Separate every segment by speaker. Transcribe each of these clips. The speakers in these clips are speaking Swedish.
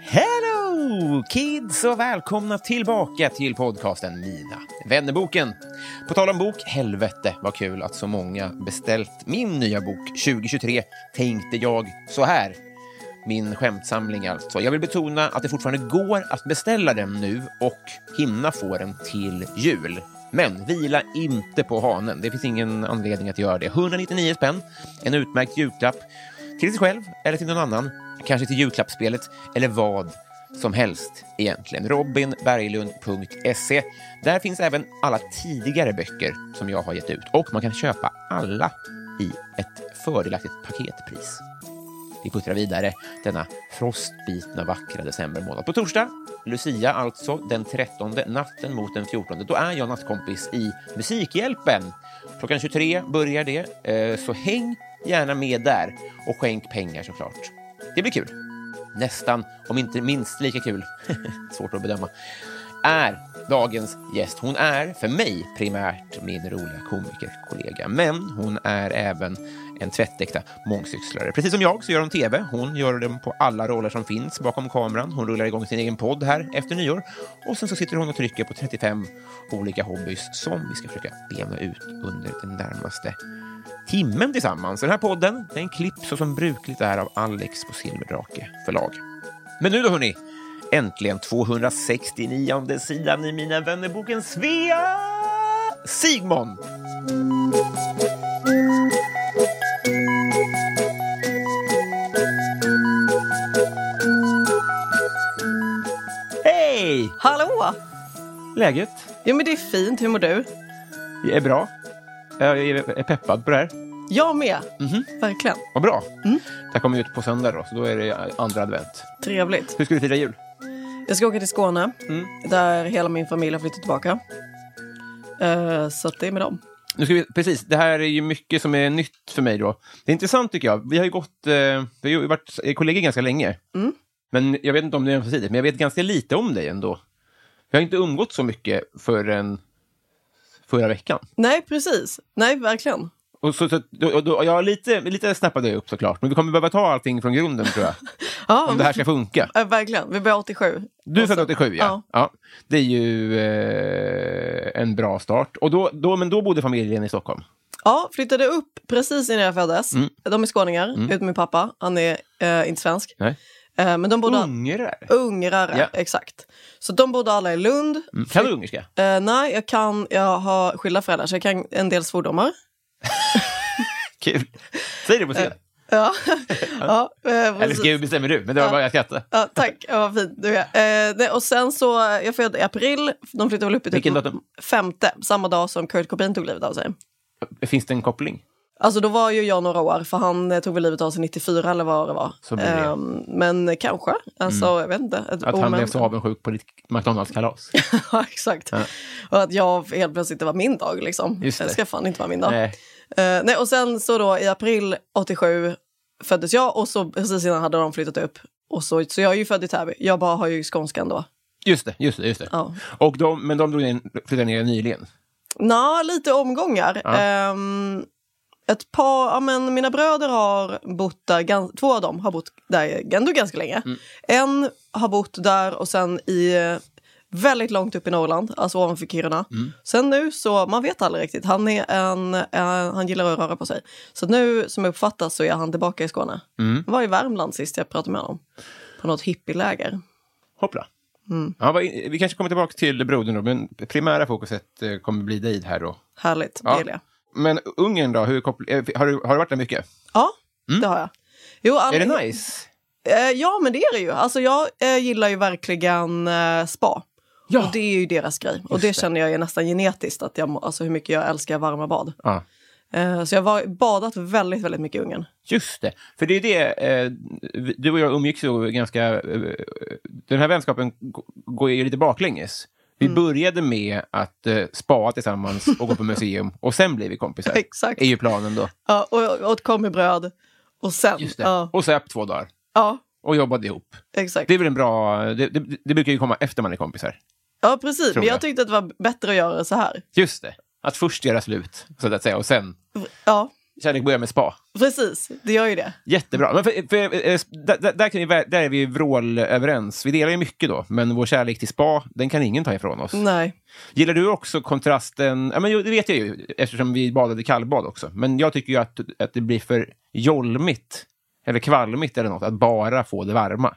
Speaker 1: Hello kids och välkomna tillbaka till podcasten Mina vännerboken. På tal om bok, helvete vad kul att så många beställt min nya bok 2023 tänkte jag så här. Min skämtsamling alltså. Jag vill betona att det fortfarande går att beställa den nu och hinna få den till jul. Men vila inte på hanen. Det finns ingen anledning att göra det. 199 spänn, en utmärkt julklapp till sig själv eller till någon annan, kanske till julklappsspelet eller vad som helst egentligen. Robinberglund.se. Där finns även alla tidigare böcker som jag har gett ut och man kan köpa alla i ett fördelaktigt paketpris. Vi puttrar vidare denna frostbitna vackra decembermånad. På torsdag, Lucia alltså, den 13, natten mot den 14, då är jag nattkompis i Musikhjälpen. Klockan 23 börjar det, eh, så häng gärna med där och skänk pengar såklart. Det blir kul. Nästan, om inte minst lika kul, svårt att bedöma, är dagens gäst. Hon är för mig primärt min roliga komikerkollega, men hon är även en tvättäkta mångsysslare. Precis som jag så gör hon tv. Hon gör den på alla roller som finns bakom kameran. Hon rullar igång sin egen podd här efter nyår och sen så sitter hon och trycker på 35 olika hobbys som vi ska försöka bena ut under den närmaste timmen tillsammans. Den här podden den klipps så som brukligt är av Alex på Silverdrake förlag. Men nu då hörni, äntligen 269 sidan i Mina vännerboken Svea Sigmon! Hej!
Speaker 2: Hallå!
Speaker 1: Läget?
Speaker 2: Jo men det är fint, hur mår du?
Speaker 1: Det är bra. Jag är peppad på det här.
Speaker 2: Jag med,
Speaker 1: Mhm.
Speaker 2: verkligen.
Speaker 1: Vad bra. Det här kommer ut på söndag då, så då är det andra advent.
Speaker 2: Trevligt.
Speaker 1: Hur ska du fira jul?
Speaker 2: Jag ska åka till Skåne,
Speaker 1: Mm.
Speaker 2: där hela min familj har flyttat tillbaka. Eh, så att det är med dem.
Speaker 1: Nu ska vi, precis, det här är ju mycket som är nytt för mig då. Det är intressant tycker jag. Vi har ju gått, eh, vi har ju varit kollegor ganska länge. Men jag vet inte om det är ömsesidigt, men jag vet ganska lite om dig ändå. Vi har inte umgått så mycket förrän förra veckan.
Speaker 2: Nej, precis. Nej, verkligen.
Speaker 1: Och så, så, då, då, jag har lite, lite snappade jag upp såklart, men vi kommer behöva ta allting från grunden tror jag.
Speaker 2: Ja,
Speaker 1: om det här ska funka.
Speaker 2: eh, verkligen. Vi börjar Alltså- 87.
Speaker 1: Du är
Speaker 2: Och så-
Speaker 1: född 87, ja. ja. Det är ju eh, en bra start. Och då, då, men då bodde familjen i Stockholm.
Speaker 2: Ja, flyttade upp precis innan jag föddes.
Speaker 1: Mm.
Speaker 2: De är skåningar, utom min pappa. Han är eh, inte svensk.
Speaker 1: Nej.
Speaker 2: Eh, men de bodde...
Speaker 1: Ungrare?
Speaker 2: Ungrare,
Speaker 1: Ja.
Speaker 2: exakt. Så de bodde alla i Lund.
Speaker 1: Mm. Kan du ungerska?
Speaker 2: Eh, nej, jag kan... Jag har skilda föräldrar, så jag kan en del svordomar.
Speaker 1: Kul. Säg det på
Speaker 2: Eh,
Speaker 1: scen.
Speaker 2: Ja, ja eh,
Speaker 1: Eller
Speaker 2: precis.
Speaker 1: ska jag bestämmer du, men det var bara jag skrattade.
Speaker 2: Ja, tack, ja, vad fint du är. Eh, nej, och sen så, jag föddes i april, de flyttade väl upp i typ
Speaker 1: Vilken datum?
Speaker 2: femte, samma dag som Kurt Cobain tog livet av sig.
Speaker 1: Finns det en koppling?
Speaker 2: Alltså då var ju jag några år, för han eh, tog väl livet av sig 94 eller vad det var.
Speaker 1: Så blir det. Mm.
Speaker 2: Ehm, men kanske, alltså jag vet inte.
Speaker 1: Att
Speaker 2: Ett
Speaker 1: han
Speaker 2: omen-
Speaker 1: blev så avundsjuk på ditt McDonalds-kalas?
Speaker 2: ja, exakt. Och att jag helt plötsligt, det var min dag liksom.
Speaker 1: Just det.
Speaker 2: Det ska fan inte vara min dag.
Speaker 1: Nej.
Speaker 2: Eh, nej, och sen så då i april 87 föddes jag och så precis innan hade de flyttat upp. Och så, så jag är ju född i Täby, jag bara har ju skånskan då.
Speaker 1: Just det, just det. Just det.
Speaker 2: Ja.
Speaker 1: Och de, men de drog in, flyttade ner nyligen?
Speaker 2: Nå, lite omgångar.
Speaker 1: Ja.
Speaker 2: Ehm, ett par, ja, men mina bröder har bott där, gan- två av dem har bott där ändå ganska länge.
Speaker 1: Mm.
Speaker 2: En har bott där och sen i eh, väldigt långt upp i Norrland, alltså ovanför Kiruna.
Speaker 1: Mm.
Speaker 2: Sen nu så, man vet aldrig riktigt, han, är en, eh, han gillar att röra på sig. Så nu som jag uppfattar så är han tillbaka i Skåne.
Speaker 1: Mm.
Speaker 2: Jag var i Värmland sist jag pratade med honom, på något hippieläger.
Speaker 1: Hoppla.
Speaker 2: Mm.
Speaker 1: Ja, vad- vi kanske kommer tillbaka till brodern då, men primära fokuset eh, kommer bli dig här då.
Speaker 2: Härligt,
Speaker 1: Ja.
Speaker 2: det gillar jag.
Speaker 1: Men Ungern då, hur koppl- eh, har, du, har du varit där mycket?
Speaker 2: Ja, det har jag. Jo, an-
Speaker 1: Mm. Är det nice?
Speaker 2: Eh, ja, men det är det ju. Alltså, jag eh, gillar ju verkligen eh, spa.
Speaker 1: Ja.
Speaker 2: Och det är ju deras grej. Och det, känner jag är nästan genetiskt, att jag, må- alltså, hur mycket jag älskar varma bad.
Speaker 1: Ja.
Speaker 2: Eh, så jag har badat väldigt, väldigt mycket i Ungern.
Speaker 1: Just det, för det är det, eh, vi- du och jag umgicks ju ganska... Eh, den här vänskapen g- går ju lite baklänges. Vi började med att eh, spaa tillsammans och gå på museum och sen blev vi kompisar.
Speaker 2: Exakt.
Speaker 1: är ju planen då.
Speaker 2: Ja, och jag åt korvbröd. Och sen...
Speaker 1: Just det.
Speaker 2: Ja,
Speaker 1: Och söp två dagar
Speaker 2: ja,
Speaker 1: och jobbade ihop.
Speaker 2: exakt.
Speaker 1: Det är väl en bra... Det, det, det brukar ju komma efter man är kompisar.
Speaker 2: ja, precis. Men
Speaker 1: jag.
Speaker 2: jag tyckte att det var bättre att göra så här.
Speaker 1: Just det, att först göra slut, så att säga, och sen...
Speaker 2: Ja,
Speaker 1: Kärlek börjar med spa.
Speaker 2: precis. Det gör ju det.
Speaker 1: Jättebra. Men för, för, eh, där, där- där, kan vi, vä- där är vi ju vrålöverens. Vi delar ju mycket då, men vår kärlek till spa, den kan ingen ta ifrån oss.
Speaker 2: Nej.
Speaker 1: Gillar du också kontrasten? Ja, men jo, det vet jag ju, eftersom vi badade kallbad också. Men jag tycker ju att, att det blir för jolmigt, eller kvalmigt eller något, att bara få det varma.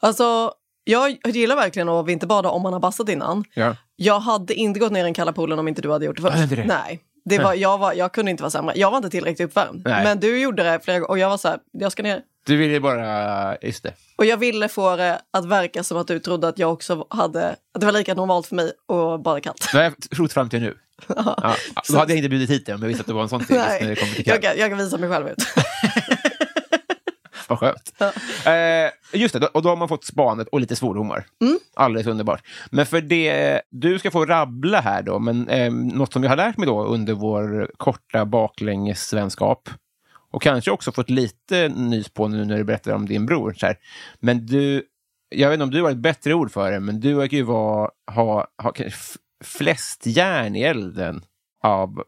Speaker 2: Alltså, jag gillar verkligen att vinterbada om man har bastat innan.
Speaker 1: Ja.
Speaker 2: Jag hade inte gått ner i den kalla poolen om inte du hade gjort det först.
Speaker 1: Ja, inte det.
Speaker 2: Nej. Det var, jag, var, jag kunde inte vara sämre. Jag var inte tillräckligt uppvärmd.
Speaker 1: Nej.
Speaker 2: Men du gjorde det flera gånger och jag var så här, jag ska ner.
Speaker 1: Du vill ju bara... Just det.
Speaker 2: Och jag ville få det att verka som att du trodde att jag också hade, att det var lika normalt för mig att bada kallt.
Speaker 1: Det har jag trott fram till nu. Ja. Då hade jag inte bjudit hit dig om jag visste att det var en sån
Speaker 2: Nej.
Speaker 1: tegelst när det kommer till
Speaker 2: jag,
Speaker 1: kall.
Speaker 2: kan, jag kan visa mig själv ut.
Speaker 1: Vad skönt. Eh, just det, då- och då har man fått spanet och lite svordomar. Alldeles underbart. Men för det, du ska få rabbla här då, men eh, något som jag har lärt mig då under vår korta baklängesvänskap och kanske också fått lite nys på nu när du berättar om din bror. Så här. Men du, jag vet inte om du har ett bättre ord för det, men du verkar ju vara, ha, ha kanske f- flest järn i elden av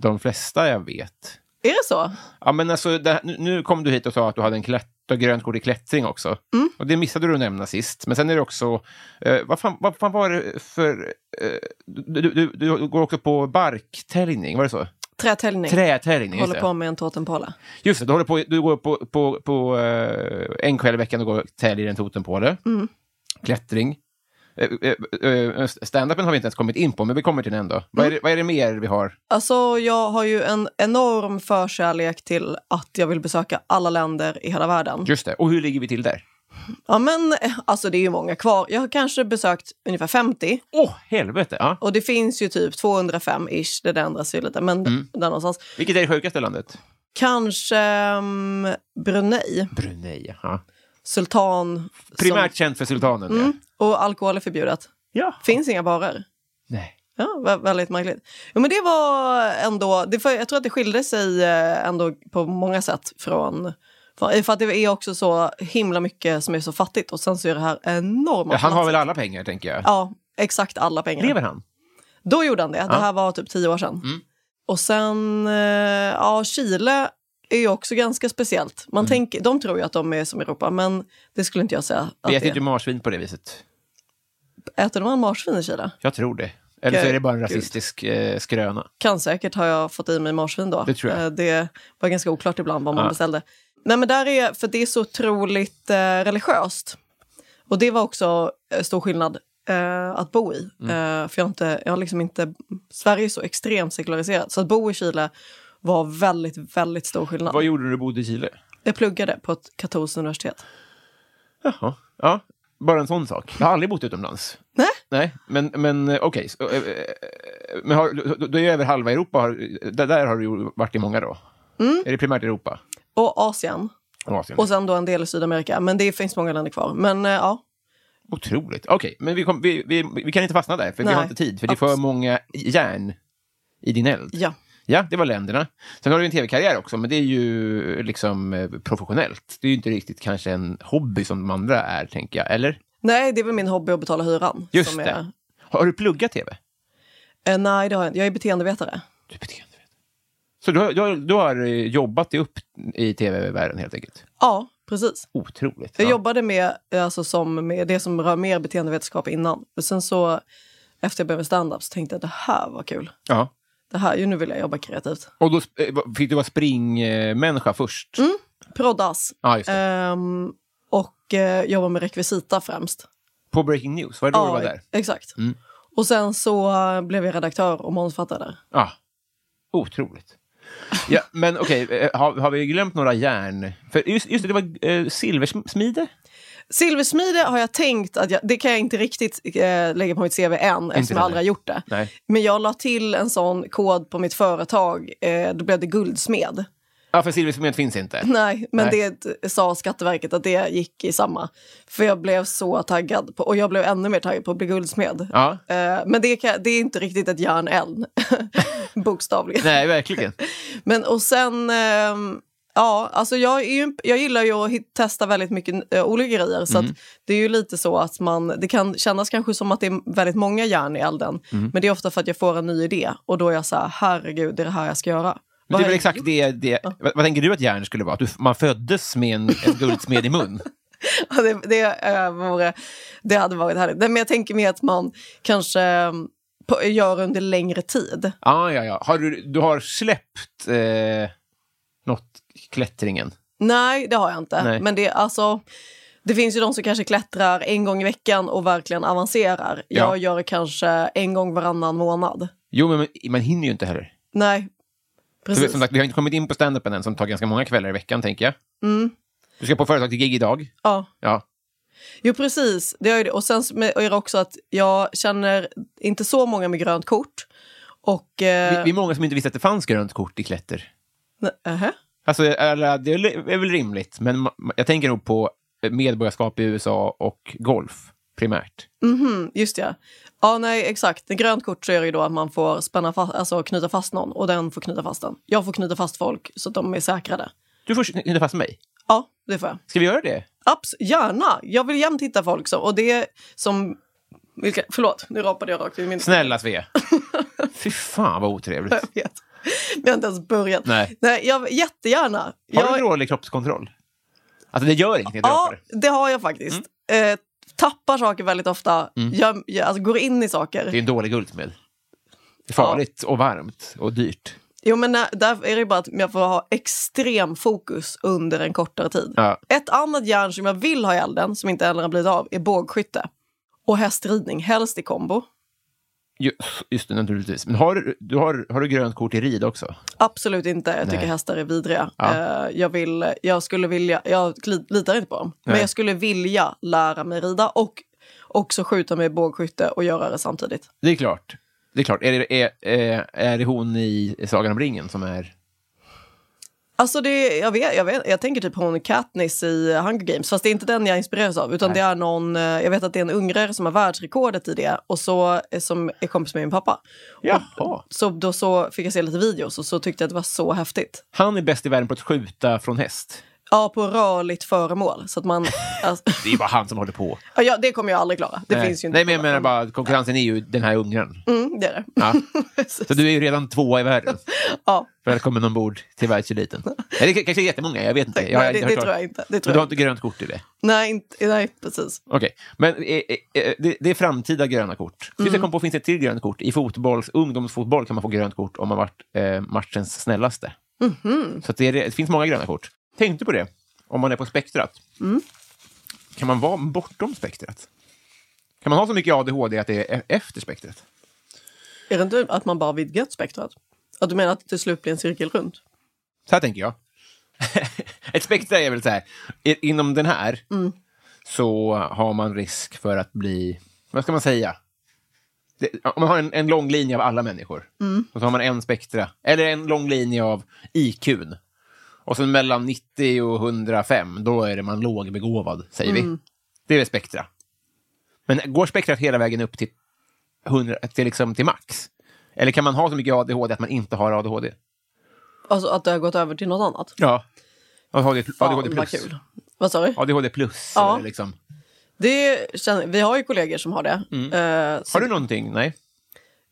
Speaker 1: de flesta jag vet.
Speaker 2: Är det så?
Speaker 1: Ja, men alltså, det, här- nu- nu kom du hit och sa att du hade en klätt, du har grönt kort i klättring också.
Speaker 2: Mm.
Speaker 1: Och det missade du att nämna sist. Men sen är det också... Eh, vad, fan, vad fan var det för... Eh, du, du, du, du går också på barktärning, var det så?
Speaker 2: Trätäljning.
Speaker 1: Trätärning, just
Speaker 2: Håller
Speaker 1: det.
Speaker 2: på med en totempåla.
Speaker 1: Just det, du, håller på, du går på, på, på eh, en kväll i veckan och går och täljer en totempåle. Mm. Klättring. Eh, eh, eh, Standupen har vi inte ens kommit in på, men vi kommer till den ändå. Vad,
Speaker 2: Mm.
Speaker 1: är det, vad är det mer vi har?
Speaker 2: Alltså, jag har ju en enorm förkärlek till att jag vill besöka alla länder i hela världen.
Speaker 1: Just det, och hur ligger vi till där?
Speaker 2: Ja, men eh, alltså det är ju många kvar. Jag har kanske besökt ungefär 50
Speaker 1: Åh, helvete! Ja.
Speaker 2: och det finns ju typ 205-ish, det där ändras ju lite, men
Speaker 1: Mm.
Speaker 2: där någonstans.
Speaker 1: Vilket är det sjukaste landet?
Speaker 2: Kanske ehm, Brunei,
Speaker 1: Brunei, ja.
Speaker 2: sultan. som-
Speaker 1: Primärt känt för sultanen, ja.
Speaker 2: och alkohol är förbjudet.
Speaker 1: ja.
Speaker 2: Finns inga barer.
Speaker 1: Nej.
Speaker 2: Ja, vä- väldigt märkligt. Jo, men det var ändå, det för, jag tror att det skilde sig eh, ändå på många sätt från för för att det är också så himla mycket som är så fattigt och sen så är det här enorma...
Speaker 1: Ja, han har
Speaker 2: platser.
Speaker 1: väl alla pengar, tänker jag.
Speaker 2: alltså- Ja, exakt alla pengar.
Speaker 1: Lever han?
Speaker 2: Då gjorde han det. Det här var typ tio år sedan. Och sen, eh, ja, Chile är ju också ganska speciellt. Man tänker, de tror ju att de är som Europa, men det skulle inte jag säga. Att
Speaker 1: Vi
Speaker 2: det
Speaker 1: äter inte
Speaker 2: är.
Speaker 1: marsvin på det viset.
Speaker 2: Äter man marsvin i Chile?
Speaker 1: Jag tror det. Eller så är det bara en
Speaker 2: Gud.
Speaker 1: rasistisk eh, skröna.
Speaker 2: Kan säkert har jag fått i mig marsvin då.
Speaker 1: Det tror jag.
Speaker 2: Eh, Det var ganska oklart ibland vad man
Speaker 1: Ja.
Speaker 2: beställde. Nej, men där är, för det är så otroligt eh, religiöst. Och det var också eh, stor skillnad eh, att bo i.
Speaker 1: Mm.
Speaker 2: Eh, för jag har, inte, jag har liksom inte... Sverige är så extremt sekulariserat. Så att bo i Chile var väldigt, väldigt stor skillnad.
Speaker 1: Vad gjorde du när du bodde i Chile?
Speaker 2: Jag pluggade på ett katolskt universitet.
Speaker 1: Jaha. Ja, bara en sån sak. Jag har aldrig bott utomlands.
Speaker 2: Nej.
Speaker 1: Nej, men, men eh, okej. så, eh, eh, Men har, du- du är över halva Europa. Har, där, där har du ju varit i många då? Är det primärt Europa?
Speaker 2: Och Asien.
Speaker 1: Och Asien?
Speaker 2: Mm. Och sen då en del i Sydamerika. Men det finns många länder kvar. Men eh, ja,
Speaker 1: Otroligt. Okej, men vi, kom, vi, vi, vi kan inte fastna där, för vi
Speaker 2: Nej.
Speaker 1: har inte tid. För det är för
Speaker 2: Absolut.
Speaker 1: många järn i din eld.
Speaker 2: ja.
Speaker 1: Ja, det var länderna. Sen har du en tv-karriär också, men det är ju liksom eh, professionellt. Det är ju inte riktigt kanske en hobby som de andra är, tänker jag. Eller?
Speaker 2: Nej, det är väl min hobby att betala hyran.
Speaker 1: Just
Speaker 2: som
Speaker 1: det. Har du pluggat tv?
Speaker 2: Är, eh, nej, det har jag inte. Jag är beteendevetare.
Speaker 1: Du är beteendevetare. Så du har, du, har, du har eh, jobbat dig upp i tv-världen helt enkelt?
Speaker 2: Ja, precis.
Speaker 1: Otroligt.
Speaker 2: Jag
Speaker 1: Ja.
Speaker 2: jobbade med, alltså, som, med det som rör mer beteendevetenskap innan. Och sen så, efter jag började med stand-up så tänkte jag det här var kul.
Speaker 1: ja.
Speaker 2: Det här, ju nu vill jag jobba kreativt.
Speaker 1: Och då sp- eh, vad- fick du vara springmänniska först?
Speaker 2: Proddas.
Speaker 1: Ja, just det.
Speaker 2: Ehm, och eh, jobba med rekvisita främst.
Speaker 1: På Breaking News? Var det då du var där?
Speaker 2: exakt.
Speaker 1: Mm.
Speaker 2: Och sen så eh, blev jag redaktör och Måns fattade där.
Speaker 1: Ja. Otroligt. Ja, men okej, eh, har, har vi glömt några järn... För just, just det, det var eh, silversmide?
Speaker 2: Silversmide har jag tänkt att jag, det kan jag inte riktigt eh, lägga på mitt CV än eftersom
Speaker 1: heller.
Speaker 2: jag aldrig har gjort det.
Speaker 1: Nej.
Speaker 2: Men jag la till en sån kod på mitt företag, eh, då blev det guldsmed.
Speaker 1: Ja, för silversmed finns inte.
Speaker 2: Nej, men
Speaker 1: Nej.
Speaker 2: det sa Skatteverket att det gick i samma. För jag blev så taggad på, och jag blev ännu mer taggad på att bli guldsmed.
Speaker 1: Ja.
Speaker 2: Eh, men det, kan, det är inte riktigt ett järn än, bokstavligen.
Speaker 1: Nej, verkligen.
Speaker 2: Men och sen... ehm, Ja, alltså jag, är ju, jag gillar ju att hit- testa väldigt mycket eh, olika grejer. Så
Speaker 1: Mm.
Speaker 2: att det är ju lite så att man, det kan kännas kanske som att det är väldigt många järn i elden.
Speaker 1: Mm.
Speaker 2: Men det är ofta för att jag får en ny idé och då är jag så här, herregud, det är det här jag ska göra.
Speaker 1: Men
Speaker 2: Vad
Speaker 1: det är väl
Speaker 2: har
Speaker 1: exakt det... det vad, vad tänker du att järn skulle vara? Att du, man föddes med en, en guldsmed i mun?
Speaker 2: Ja, det, det, eh, vore, det hade varit härligt. Nej, Men jag tänker mer att man kanske eh, på, gör under längre tid.
Speaker 1: Ja, ja, ja. Har du, du har släppt eh, något, klättringen?
Speaker 2: Nej, det har jag inte.
Speaker 1: Nej.
Speaker 2: Men det, alltså, det finns ju de som kanske klättrar en gång i veckan och verkligen avancerar.
Speaker 1: Ja.
Speaker 2: Jag gör kanske en gång varannan månad.
Speaker 1: Jo, men man, man hinner ju inte heller.
Speaker 2: Nej,
Speaker 1: Så,
Speaker 2: precis.
Speaker 1: som sagt, vi har inte kommit in på stand-upen än, som tar ganska många kvällar i veckan, tänker jag.
Speaker 2: Mm.
Speaker 1: Du ska på företag till gig idag.
Speaker 2: Ja.
Speaker 1: Ja.
Speaker 2: Jo, precis. Det gör ju det. Och sen så med- och är det också att jag känner inte så många med grönt kort. Och... Eh,
Speaker 1: Vi, vi är många som inte visste att det fanns grönt kort i klätter.
Speaker 2: nej, ähä.
Speaker 1: Alltså, eller, det är li- är väl rimligt, men ma- jag tänker nog på medborgarskap i USA och golf primärt.
Speaker 2: Mhm, just det. Ja, nej, exakt. Med grönt kort så är det ju då att man får spänna fast, alltså knyta fast någon och den får knyta fast den. Jag får knyta fast folk så att de är säkrade.
Speaker 1: Du får knyta fast mig.
Speaker 2: Ja, det får jag.
Speaker 1: Ska vi göra det?
Speaker 2: Abs gärna! Jag vill jämt hitta folk som, och det som... Vilka, förlåt, nu rapade jag rakt i min...
Speaker 1: Snälla Svea. Fy fan vad otrevligt. Har
Speaker 2: Jag vet. Vi har inte ens börjat.
Speaker 1: Nej.
Speaker 2: nej jag, jättegärna. jag,
Speaker 1: du dålig kroppskontroll? Alltså det gör ingenting att Mm. jag
Speaker 2: Ja,
Speaker 1: rapar.
Speaker 2: det har jag faktiskt. Eh, tappar saker väldigt ofta. Jag, jag, alltså, går in i saker.
Speaker 1: Mm. Det är en dålig guldsmed. Det är farligt och varmt och dyrt.
Speaker 2: Jo, men när, där är det bara att jag får ha extrem fokus under en kortare tid.
Speaker 1: Ja.
Speaker 2: Ett annat järn som jag vill ha i elden, som inte heller har blivit av, är bågskytte. Och hästridning, helst i kombo.
Speaker 1: Ju- Just det, naturligtvis. Men har du, du, har, har du grönt kort i rid också?
Speaker 2: Absolut inte. Jag tycker
Speaker 1: Nej.
Speaker 2: hästar är vidriga.
Speaker 1: Ja.
Speaker 2: Eh, jag, vill, jag skulle vilja, jag li- litar inte på dem,
Speaker 1: Nej.
Speaker 2: men jag skulle vilja lära mig rida och också skjuta med bågskytte och göra det samtidigt.
Speaker 1: Det är klart. Det är klart. Är det, är, är, är det hon i Sagan om ringen som är...
Speaker 2: Alltså det, jag, vet, jag, vet, jag tänker typ hon Katniss i Hunger Games, fast det är inte den jag inspireras av. Utan
Speaker 1: Nej.
Speaker 2: det är någon, eh, jag vet att det är en ungrare som har världsrekordet i det och så, eh, som är kompis med min pappa.
Speaker 1: Jaha.
Speaker 2: Så då så fick jag se lite videos och så tyckte jag att det var så häftigt.
Speaker 1: Han är bäst i världen på att skjuta från häst.
Speaker 2: Ja, på rörligt föremål. Så att man, alltså,
Speaker 1: Det är ju bara han som håller på.
Speaker 2: ja, ja, det kommer jag aldrig klara. Det
Speaker 1: Nej.
Speaker 2: finns ju inte.
Speaker 1: Nej, men jag menar bara att konkurrensen är ju den här ungern.
Speaker 2: Mm, det är det.
Speaker 1: Ja.
Speaker 2: Precis.
Speaker 1: Så du är ju redan tvåa i världen.
Speaker 2: Ja.
Speaker 1: Välkommen ombord till världseliten. Nej, det kanske är jättemånga, jag vet inte. Jag, har
Speaker 2: Nej,
Speaker 1: inte
Speaker 2: det,
Speaker 1: hört
Speaker 2: det tror
Speaker 1: talas-
Speaker 2: jag inte. Det
Speaker 1: Men
Speaker 2: tror
Speaker 1: du
Speaker 2: jag.
Speaker 1: har inte grönt kort i det?
Speaker 2: Nej, inte. Nej, precis.
Speaker 1: Okej, men eh, eh, eh, det, det är framtida gröna kort. Just jag kom på finns det ett till grönt kort. I fotboll, ungdomsfotboll kan man få grönt kort om man varit eh, matchens snällaste. Så att det, är, det finns många gröna kort. Tänkte på det, om man är på spektrat. Kan man vara bortom spektrat? Kan man ha så mycket ADHD att det är e- efter spektrat?
Speaker 2: Är det inte typ att man bara vidgat spektrat? Att du menar att det till slut blir en cirkel runt?
Speaker 1: Så här tänker jag. ett spektra är väl så här, i- inom den här så har man risk för att bli, vad ska man säga? Det, om man har en, en lång linje av alla människor, och så har man en spektra, eller en lång linje av IQn. Och sen mellan 90 och 105, då är det man lågbegåvad, säger vi. Det är väl spektra. Men går spektrat hela vägen upp till, 100, till, liksom, till max? Eller kan man ha så mycket ADHD att man inte har ADHD?
Speaker 2: Alltså att det har gått över till något annat?
Speaker 1: Ja. ADHD,
Speaker 2: Fan,
Speaker 1: ADHD
Speaker 2: vad
Speaker 1: plus.
Speaker 2: kul. Vad sa du?
Speaker 1: ADHD plus.
Speaker 2: Ja.
Speaker 1: Eller liksom.
Speaker 2: Det känner, vi har ju kollegor som har det. Eh, så,
Speaker 1: Mm. Har du någonting? Nej.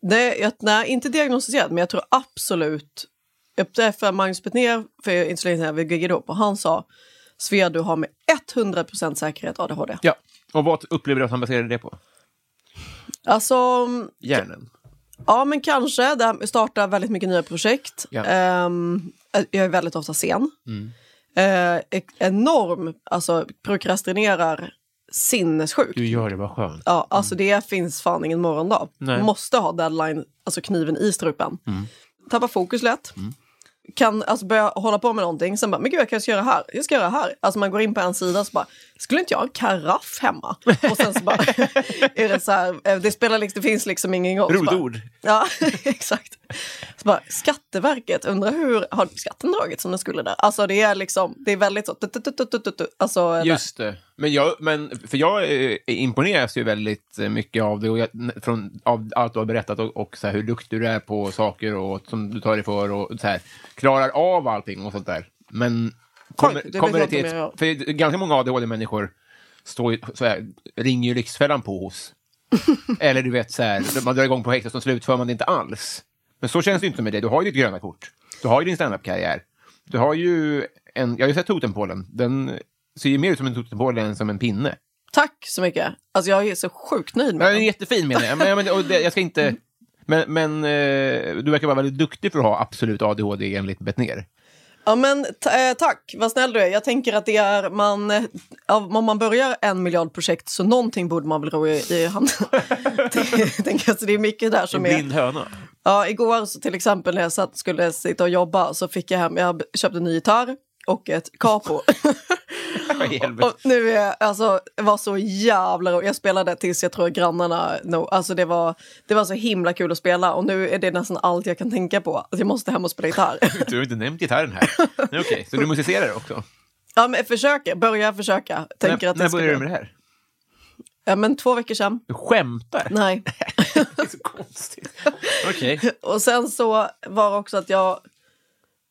Speaker 2: nej, jag, nej, inte diagnostiserat, men jag tror absolut... Jag träffade Magnus Petner för inte så länge sedan, vi giggade ihop, och han sa Svea, du har med 100 säkerhet ADHD.
Speaker 1: Ja. Och vad upplever du att han baserade det på?
Speaker 2: Alltså,
Speaker 1: Hjärnan.
Speaker 2: ja men kanske. Det här med att starta väldigt mycket nya projekt.
Speaker 1: Ja.
Speaker 2: Ehm, jag är väldigt ofta sen. Eh, ek- enorm, alltså prokrastinerar sinnessjukt.
Speaker 1: Du gör det, vad skönt.
Speaker 2: Ja, alltså det finns fan ingen morgondag.
Speaker 1: Mm. Nej. Mm.
Speaker 2: Måste ha deadline, alltså kniven i strupen. Tappar fokus lätt. Kan alltså börja hålla på med någonting, sen bara, men gud jag kanske ska göra här, jag ska göra här. Alltså man går in på en sida så bara, skulle inte jag ha en karaff hemma? Och sen så bara, är det så här, eh, det spelar liksom, det finns liksom ingen gång. Så
Speaker 1: Roligt
Speaker 2: bara-
Speaker 1: ord.
Speaker 2: Ja, exakt. Så bara, Skatteverket, undrar hur har skatten dragit som den skulle där? Alltså det är liksom, det är väldigt så, tut, tut, tut, tut, tut, tut, tut. alltså,
Speaker 1: Just det. Men jag, men, för jag eh, imponeras ju väldigt eh, mycket av det och jag, n- från, av allt du har berättat och, och så här, hur duktig du är på saker och som du tar dig för och så här, klarar av allting och sånt där. Men kommer,
Speaker 2: Oj, det
Speaker 1: kommer det
Speaker 2: vet
Speaker 1: till
Speaker 2: jag inte
Speaker 1: ett,
Speaker 2: om
Speaker 1: för ganska många ADHD-människor står, ju- så här, ringer ju Lyxfällan på hos. Eller du vet, så här, man drar igång projekt och så slutför man det inte alls. Men så känns det ju inte med dig. Du har ju ditt gröna kort. Du har ju din standup-karriär. Du har ju en... Jag har ju sett Totempålen. Den ser ju mer ut som en totempåle än som en pinne.
Speaker 2: Tack så mycket. Alltså jag är så sjukt nöjd
Speaker 1: Men
Speaker 2: med
Speaker 1: den är
Speaker 2: den.
Speaker 1: jättefin menar jag. Men, men, och det, jag ska inte... Men, men eh, du verkar vara väldigt duktig för att ha absolut ADHD enligt Bettner.
Speaker 2: Ja, men ta- eh, tack, vad snäll du är. Jag tänker att det är man, eh, av- om man börjar en miljard projekt så någonting borde man väl ro i, i handen. Det- tänker jag, så det är mycket där som är...
Speaker 1: höna.
Speaker 2: Ja, igår så till exempel när jag satt, skulle sitta och jobba så fick jag hem, jag köpte en ny gitarr och ett capo.
Speaker 1: Helvete.
Speaker 2: Och nu är jag, alltså, det var så jävla roligt. Jag spelade tills jag tror grannarna no, alltså det var, det var så himla kul att spela och nu är det nästan allt jag kan tänka på. Att jag måste hem och spela gitarr.
Speaker 1: Du har inte nämnt gitarren här. Nej, Okej, så du musicerar också?
Speaker 2: ja, men jag försöker, börjar försöka. Tänker
Speaker 1: när
Speaker 2: att det
Speaker 1: när
Speaker 2: ska
Speaker 1: började du
Speaker 2: bli-
Speaker 1: med det här?
Speaker 2: Ja, men två veckor sedan.
Speaker 1: Du skämtar?
Speaker 2: Nej.
Speaker 1: Det är så konstigt. Okej.
Speaker 2: Och sen så var det också att jag...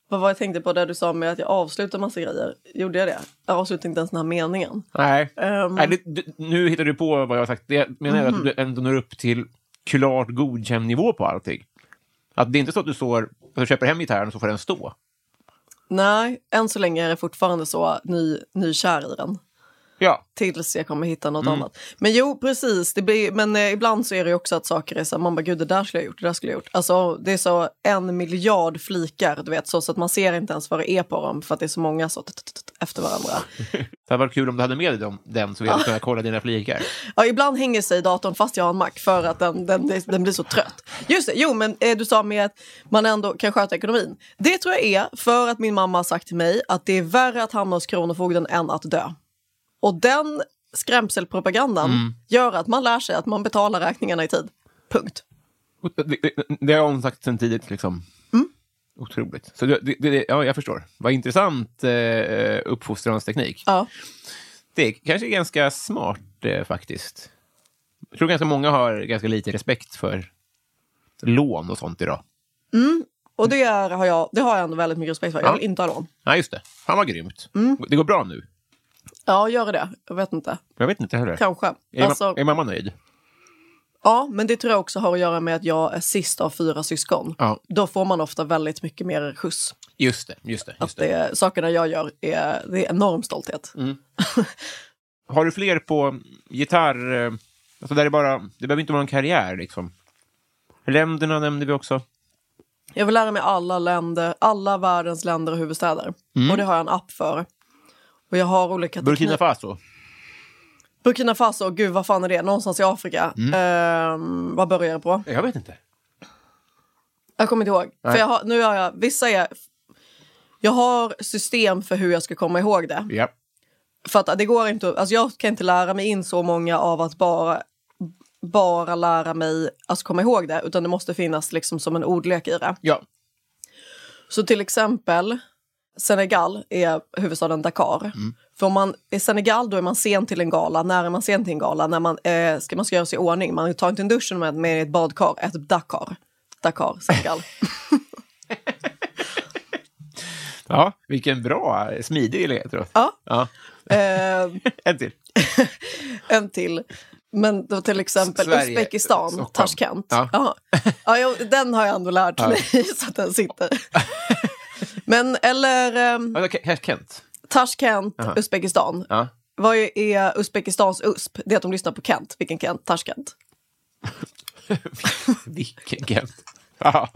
Speaker 2: Vad var jag tänkte på där du sa med att jag avslutar massa grejer? Gjorde jag det? Jag avslutade inte ens den här meningen.
Speaker 1: Nej.
Speaker 2: Ehm. Mhm.
Speaker 1: Nej det, du, nu hittar du på vad jag har sagt. Det menar jag att du ändå når upp till klart godkänd nivå på allting. Att det är inte så att du står, att du köper hem gitarren och så får den stå.
Speaker 2: Nej, än så länge är det fortfarande så ny, nykär i den.
Speaker 1: Ja.
Speaker 2: Tills jag kommer hitta något annat. Men jo, precis. Det blir, men eh, ibland så är det ju också att saker är så här, man bara gud det där skulle jag gjort, det där skulle jag gjort. Alltså det är så en miljard flikar, du vet så, så att man ser inte ens vad det är på dem för att det är så många så t- t- t- efter varandra.
Speaker 1: Det hade varit kul om du hade med dig dem, den så vi hade kunnat kolla dina flikar.
Speaker 2: Ja, ibland hänger sig datorn fast jag har en Mac för att den, den, den, blir så trött. Just det, jo men eh, du sa med att man ändå kan sköta ekonomin. Det tror jag är för att min mamma har sagt till mig att det är värre att hamna hos Kronofogden än att dö. Och den skrämselpropagandan
Speaker 1: Mm.
Speaker 2: gör att man lär sig att man betalar räkningarna i tid. Punkt.
Speaker 1: Det- det- Det har hon sagt sen tidigt. Liksom.
Speaker 2: Mm.
Speaker 1: Otroligt. Så det, det, det, ja, jag förstår. Vad intressant eh, uppfostransteknik.
Speaker 2: Ja.
Speaker 1: Det är kanske ganska smart eh, faktiskt. Jag tror ganska många har ganska lite respekt för lån och sånt idag.
Speaker 2: Och det, är, har jag, det har jag ändå väldigt mycket respekt för. Jag
Speaker 1: Ja.
Speaker 2: vill inte ha lån.
Speaker 1: Nej, just det. Fan vad grymt. Det går bra nu.
Speaker 2: Ja, gör det. Jag vet inte.
Speaker 1: Jag vet inte heller.
Speaker 2: Kanske.
Speaker 1: Är,
Speaker 2: Alltså,
Speaker 1: ma- är mamma nöjd?
Speaker 2: ja, men det tror jag också har att göra med att jag är sist av fyra syskon.
Speaker 1: Ja.
Speaker 2: Då får man ofta väldigt mycket mer skjuts.
Speaker 1: Just det. Just det, Mm.
Speaker 2: Att
Speaker 1: just
Speaker 2: det.
Speaker 1: det.
Speaker 2: sakerna jag gör är, det är enorm stolthet.
Speaker 1: Har du fler på gitarr? eh, Alltså där är bara, det behöver inte vara en karriär. Liksom. Länderna nämnde vi också.
Speaker 2: Jag vill lära mig alla länder, alla världens länder och huvudstäder. Och det har jag en app för. Och jag har olika
Speaker 1: Mm. Burkina
Speaker 2: teknik-
Speaker 1: Faso.
Speaker 2: Burkina Faso, gud vad fan är det? Någonstans i Afrika.
Speaker 1: Mm.
Speaker 2: Ehm, vad börjar jag på?
Speaker 1: Jag vet inte.
Speaker 2: Jag kommer inte ihåg.
Speaker 1: Nej.
Speaker 2: För jag har, nu har jag, vissa är... Jag har system för hur jag ska komma ihåg det.
Speaker 1: Ja.
Speaker 2: För att det går inte, att- alltså jag kan inte lära mig in så många av att bara, bara lära mig, alltså komma ihåg det, utan det måste finnas liksom som en ordlek i det.
Speaker 1: ja.
Speaker 2: Så till exempel Senegal är huvudstaden Dakar. För om man i Senegal då är man sen till en gala. När är man sen till en gala? När man, eh, ska, man ska göra sig i ordning. Man tar inte en dusch när man är med i ett badkar. Ett Dakar. Dakar, Senegal.
Speaker 1: ja. Vilken bra, eh, smidig ledtråd.
Speaker 2: ja,
Speaker 1: Ja.
Speaker 2: eh,
Speaker 1: En till.
Speaker 2: en till. Men då till exempel
Speaker 1: Sverige,
Speaker 2: Uzbekistan,
Speaker 1: Stockholm.
Speaker 2: Tashkent.
Speaker 1: Ja.
Speaker 2: Ja. Ja, jo, den har jag ändå lärt mig så att den sitter. Men eller eh,
Speaker 1: Ja, Alltså, Ke- Ke- Kent.
Speaker 2: Tashkent,
Speaker 1: Aha.
Speaker 2: Uzbekistan.
Speaker 1: Ja.
Speaker 2: Vad är- är Uzbekistans USP? Det är att de lyssnar på Kent. Vilken Kent? Tashkent.
Speaker 1: Vilken Kent. Ja.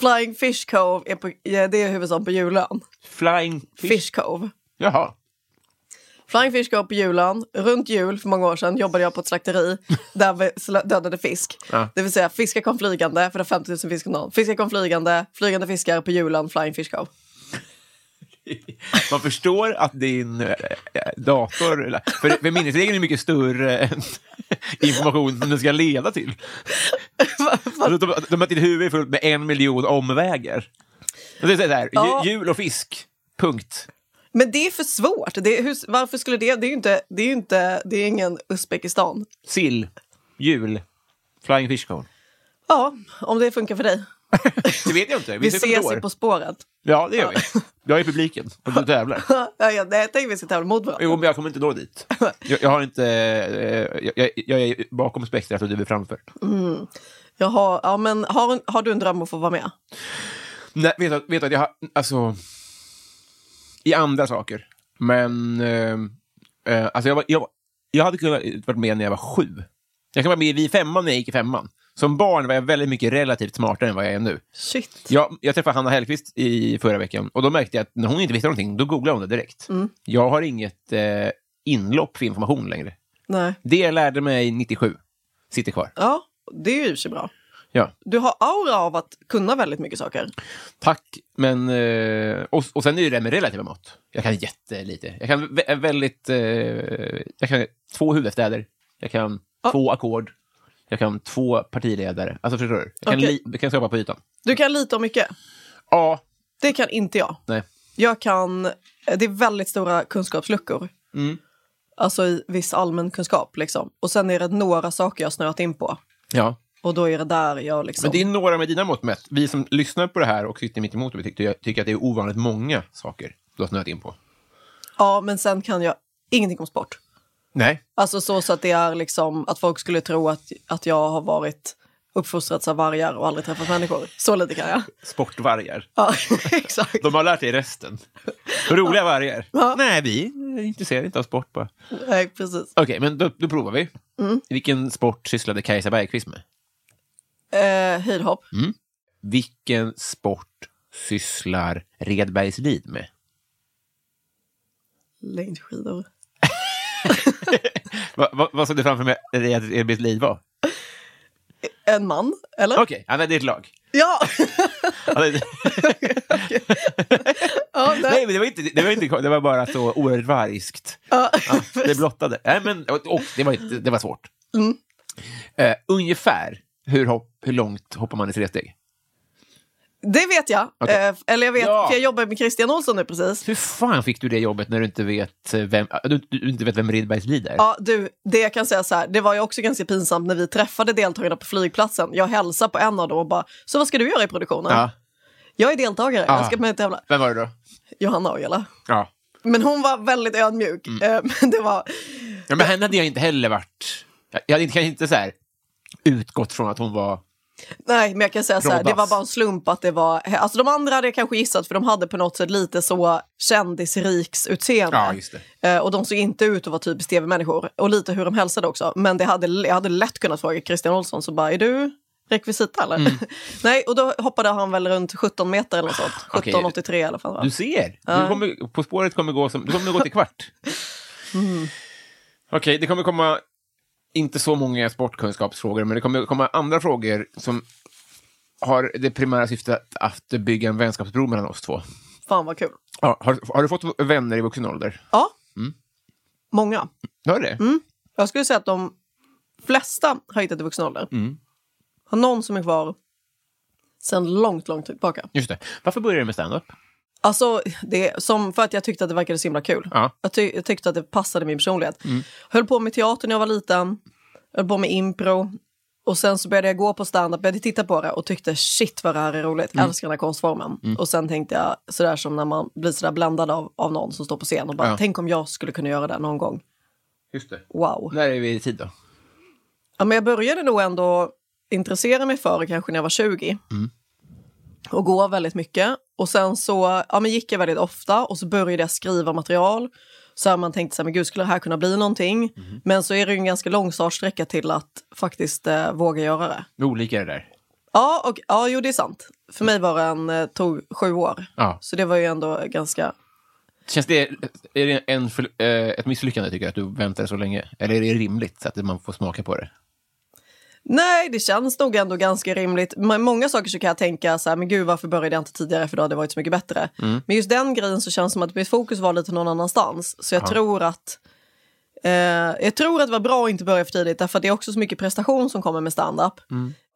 Speaker 2: Flying Fish Cove, är på, ja, det är huvudstaden på julön.
Speaker 1: Flying fish.
Speaker 2: Fish Cove.
Speaker 1: Jaha.
Speaker 2: Flying Fish går på julen. Runt jul för många år sedan jobbade jag på ett slakteri där vi slö- dödade fisk.
Speaker 1: Ja.
Speaker 2: Det vill säga fiskar kom flygande, för det är 50 000 fisk om dagen. Fiskar kom flygande, flygande fiskar på julen, Flying Fish Show.
Speaker 1: Man förstår att din eh, dator... eller- För, för minnesregeln är mycket större än information som den ska leda till. Alltså, de, de har ett huvud fullt med en miljon omvägar. Och det är så här, ju-
Speaker 2: Ja.
Speaker 1: Jul och fisk, punkt.
Speaker 2: Men det är för svårt. Det är, hur, varför skulle det... Det är ju inte... Det är, ju inte, det är ingen Uzbekistan.
Speaker 1: Sill, jul, flying fish cone.
Speaker 2: Ja, om det funkar för dig.
Speaker 1: Det vet jag inte. Vi,
Speaker 2: Vi
Speaker 1: ses om ett
Speaker 2: ses
Speaker 1: år.
Speaker 2: i På spåret.
Speaker 1: Ja, det gör vi. Jag är i publiken och du tävlar.
Speaker 2: Ja, jag, nej, jag tänker vi ska tävla mot varandra.
Speaker 1: Jo, men jag kommer inte nå dit. Jag, jag har inte... eh, Jag, jag, jag är bakom spektrat och du är framför.
Speaker 2: Jag har, ja, men har, har du en dröm om att få vara med?
Speaker 1: Nej, vet du, vet du att jag har... Alltså... I andra saker. Men... Eh, eh, alltså jag, var, jag, var- jag hade kunnat varit med när jag var sju. Jag kan vara med i Vi femman när jag gick i femman. Som barn var jag väldigt mycket relativt smartare än vad jag är nu.
Speaker 2: Shit.
Speaker 1: Jag, jag träffade Hanna Hellquist i förra veckan och då märkte jag att när hon inte visste någonting, då googlade hon det direkt. Jag har inget eh, inlopp för information längre.
Speaker 2: Nej.
Speaker 1: Det jag lärde mig 97 sitter kvar.
Speaker 2: Ja, det är ju i och för sig bra.
Speaker 1: Ja.
Speaker 2: Du har aura av att kunna väldigt mycket saker.
Speaker 1: Tack, men... Eh, och, och sen är ju det med relativa mått. Jag kan jättelite. Jag kan vä- väldigt... Eh, jag kan två huvudstäder. Jag kan
Speaker 2: Ja.
Speaker 1: två ackord. Jag kan två partiledare. Alltså, förstår du? Jag kan,
Speaker 2: Okej.
Speaker 1: li- jag kan skapa på ytan.
Speaker 2: Du kan lite om mycket.
Speaker 1: Ja,
Speaker 2: Det kan inte jag.
Speaker 1: nej.
Speaker 2: Jag kan... Det är väldigt stora kunskapsluckor.
Speaker 1: Mm.
Speaker 2: Alltså i viss allmän kunskap. Liksom. Och sen är det några saker jag har snöat in på.
Speaker 1: Ja.
Speaker 2: Och då är det där jag liksom...
Speaker 1: Men det är några med dina mått mätt. Vi som lyssnar på det här och sitter mitt emot och vi tycker, tycker att det är ovanligt många saker du har snöat in på.
Speaker 2: Ja, men sen kan jag ingenting om sport.
Speaker 1: Nej.
Speaker 2: Alltså så, så att det är liksom att folk skulle tro att, att jag har varit uppfostrad av vargar och aldrig träffat människor. Så lite kan jag.
Speaker 1: Sportvargar.
Speaker 2: Ja, exakt.
Speaker 1: De har lärt dig resten. Roliga vargar. Nej, vi är intresserade inte av sport bara.
Speaker 2: Nej, precis.
Speaker 1: Okej, men då, då provar vi.
Speaker 2: Mm.
Speaker 1: Vilken sport sysslade Kajsa Bergqvist med?
Speaker 2: Eh, höjdhopp.
Speaker 1: Mm. Vilken sport sysslar Redbergslid med?
Speaker 2: Längdskidor.
Speaker 1: Va, va, vad såg du framför mig att Redbergslid var?
Speaker 2: En man, eller?
Speaker 1: Okej, ja, men det är ett lag.
Speaker 2: Ja!
Speaker 1: Ja, det-
Speaker 2: ja, nej.
Speaker 1: Nej, men det var, inte, det, var inte, det var bara så oerhört variskt.
Speaker 2: Ja.
Speaker 1: Ja, det blottade. Nej, men, och, och, det, var, inte- det var svårt.
Speaker 2: Mm.
Speaker 1: Eh, ungefär hur, hopp, hur långt hoppar man i tre steg?
Speaker 2: Det vet jag.
Speaker 1: Okej.
Speaker 2: Eh, eller jag vet,
Speaker 1: Ja.
Speaker 2: för jag jobbar med Christian Olsson nu precis.
Speaker 1: Hur fan fick du det jobbet när du inte vet vem, du, du inte vet vem Redbergslid är?
Speaker 2: Ja, du, det jag kan säga så här, det var ju också ganska pinsamt när vi träffade deltagarna på flygplatsen. Jag hälsade på en av dem och bara, så vad ska du göra i produktionen?
Speaker 1: Ja.
Speaker 2: Jag är deltagare,
Speaker 1: Ja.
Speaker 2: jag ska med och tävla.
Speaker 1: Vem var det då?
Speaker 2: Johanna Ojala.
Speaker 1: Ja.
Speaker 2: Men hon var väldigt ödmjuk.
Speaker 1: Mm.
Speaker 2: Eh, men det var,
Speaker 1: Ja, men henne hade jag inte heller varit... Jag jag hade inte, kanske inte så här, utgått från att hon var...
Speaker 2: nej, men jag kan säga så här, det
Speaker 1: Rodas.
Speaker 2: var bara en slump att det var... Alltså de andra hade jag kanske gissat för de hade på något sätt lite så kändisriks utseende.
Speaker 1: Ja, just det.
Speaker 2: Eh, Och de såg inte ut att vara typiskt tv-människor. Och lite hur de hälsade också. Men det hade, jag hade lätt kunnat fråga Christian Olsson så bara, är du rekvisita eller?
Speaker 1: Mm.
Speaker 2: Nej, och då hoppade han väl runt 17 meter eller något sånt.
Speaker 1: Okej.
Speaker 2: 17,83 i alla fall. va?
Speaker 1: Du ser! Du
Speaker 2: Ja.
Speaker 1: kommer, på spåret kommer gå, som, du kommer gå till kvart. Mm. Okej, det kommer komma inte så många sportkunskapsfrågor, men det kommer komma andra frågor som har det primära syftet att bygga en vänskapsbro mellan oss två.
Speaker 2: Fan vad kul.
Speaker 1: Ja, har, har du fått vänner i vuxen ålder?
Speaker 2: Ja,
Speaker 1: Mm.
Speaker 2: många.
Speaker 1: Har du det?
Speaker 2: Jag skulle säga att de flesta har hittat i vuxen ålder.
Speaker 1: Mm.
Speaker 2: Har någon som är kvar sen långt, långt tillbaka.
Speaker 1: Just det. Varför började du med stand-up?
Speaker 2: Alltså, det, som för att jag tyckte att det verkade så himla kul.
Speaker 1: Ja. Mm.
Speaker 2: Jag, ty- jag tyckte att det passade min personlighet. Höll på med teater när jag var liten, höll på med impro. Och sen så började jag gå på stand-up, började titta på det och tyckte shit vad det här är roligt,
Speaker 1: Mm.
Speaker 2: älskar den här konstformen. Och sen tänkte jag sådär som när man blir sådär bländad av, av någon som står på scen och bara
Speaker 1: Ja.
Speaker 2: tänk om jag skulle kunna göra det någon gång.
Speaker 1: Just det.
Speaker 2: Wow.
Speaker 1: När är vi i tid då?
Speaker 2: Ja, men jag började nog ändå intressera mig för det kanske när jag var 20. Och gå väldigt mycket. Och sen så ja, men gick jag väldigt ofta och så började jag skriva material. Så här, man tänkte så här, men gud, skulle det här kunna bli någonting? Men så är det ju en ganska lång startsträcka till att faktiskt eh, våga göra det.
Speaker 1: Hur olika är det där?
Speaker 2: Ja, och, ja, jo det är sant. För mig var det en, eh, tog sju år.
Speaker 1: Ja.
Speaker 2: Så det var ju ändå ganska...
Speaker 1: Känns det, är det en, förl- eh, ett misslyckande tycker jag, att du väntar så länge? Eller är det rimligt så att man får smaka på det?
Speaker 2: Nej, det känns nog ändå ganska rimligt. Men många saker så kan jag tänka så här, men gud varför började jag inte tidigare för då hade det varit så mycket bättre. Men just den grejen så känns det som att mitt fokus var lite någon annanstans. Så jag tror att eh, jag tror att det var bra att inte börja för tidigt därför att det är också så mycket prestation som kommer med standup.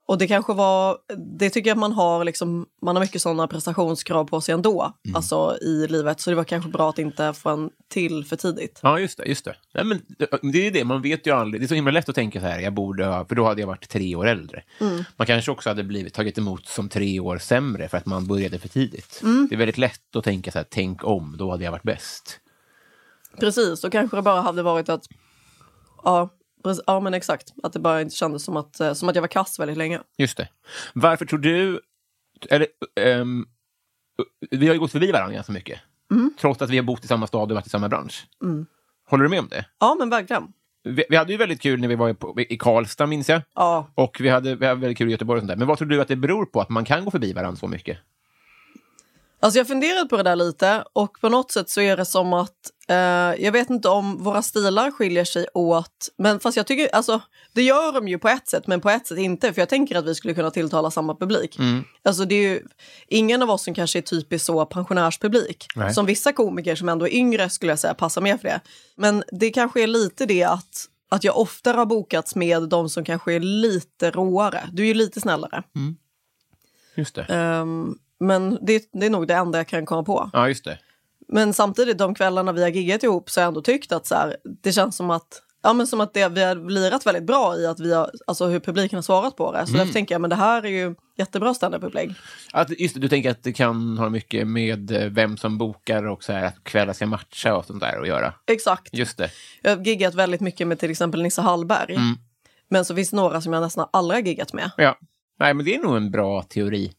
Speaker 2: Och det kanske var, det tycker jag att man har liksom, man har mycket sådana prestationskrav på sig ändå, alltså i livet. Så det var kanske bra att inte få en till för tidigt.
Speaker 1: Ja, just det. Just det. Nej, men det är ju det, man vet ju aldrig. Det är så himla lätt att tänka så här, jag borde ha, för då hade jag varit tre år äldre. Man kanske också hade blivit tagit emot som tre år sämre för att man började för tidigt. Det är väldigt lätt att tänka så här, tänk om, då hade jag varit bäst.
Speaker 2: Precis, och kanske det bara hade varit att... Ja, precis, ja men exakt. Att det bara inte kändes som att, eh, som att jag var kass väldigt länge.
Speaker 1: Just det. Varför tror du... Eller, ehm, vi har ju gått förbi varandra ganska mycket. Trots att vi har bott i samma stad och varit i samma bransch. Håller du med om det?
Speaker 2: Ja, men verkligen.
Speaker 1: Vi, vi hade ju väldigt kul när vi var i, på- i Karlstad, minns jag.
Speaker 2: Ja.
Speaker 1: Och vi hade, vi hade väldigt kul i Göteborg och sånt där. Men vad tror du att det beror på att man kan gå förbi varandra så mycket?
Speaker 2: Alltså jag har funderat på det där lite och på något sätt så är det som att eh, jag vet inte om våra stilar skiljer sig åt. Men fast jag tycker, alltså det gör de ju på ett sätt men på ett sätt inte för jag tänker att vi skulle kunna tilltala samma publik. Alltså det är ju ingen av oss som kanske är typiskt så pensionärspublik.
Speaker 1: Nej.
Speaker 2: Som vissa komiker som ändå är yngre skulle jag säga passar mer för det. Men det kanske är lite det att att jag oftare har bokats med de som kanske är lite råare. Du är ju lite snällare.
Speaker 1: Just det.
Speaker 2: Ehm, men det, det är nog det enda jag kan komma på.
Speaker 1: Ja, just det.
Speaker 2: Men samtidigt, de kvällarna vi har giggat ihop så har jag ändå tyckt att så här, det känns som att, ja, men som att det, vi har lirat väldigt bra i att vi har, alltså hur publiken har svarat på det. Så
Speaker 1: Mm.
Speaker 2: därför tänker jag men det här är ju jättebra standup-upplägg.
Speaker 1: Att, just det. Du tänker att det kan ha mycket med eh, vem som bokar och så här, att kvällar ska matcha och sånt där att göra.
Speaker 2: Exakt.
Speaker 1: Just det.
Speaker 2: Jag har giggat väldigt mycket med till exempel Nisse Hallberg.
Speaker 1: Mm.
Speaker 2: Men så finns det några som jag nästan aldrig har giggat med.
Speaker 1: Ja. Nej, men det är nog en bra teori.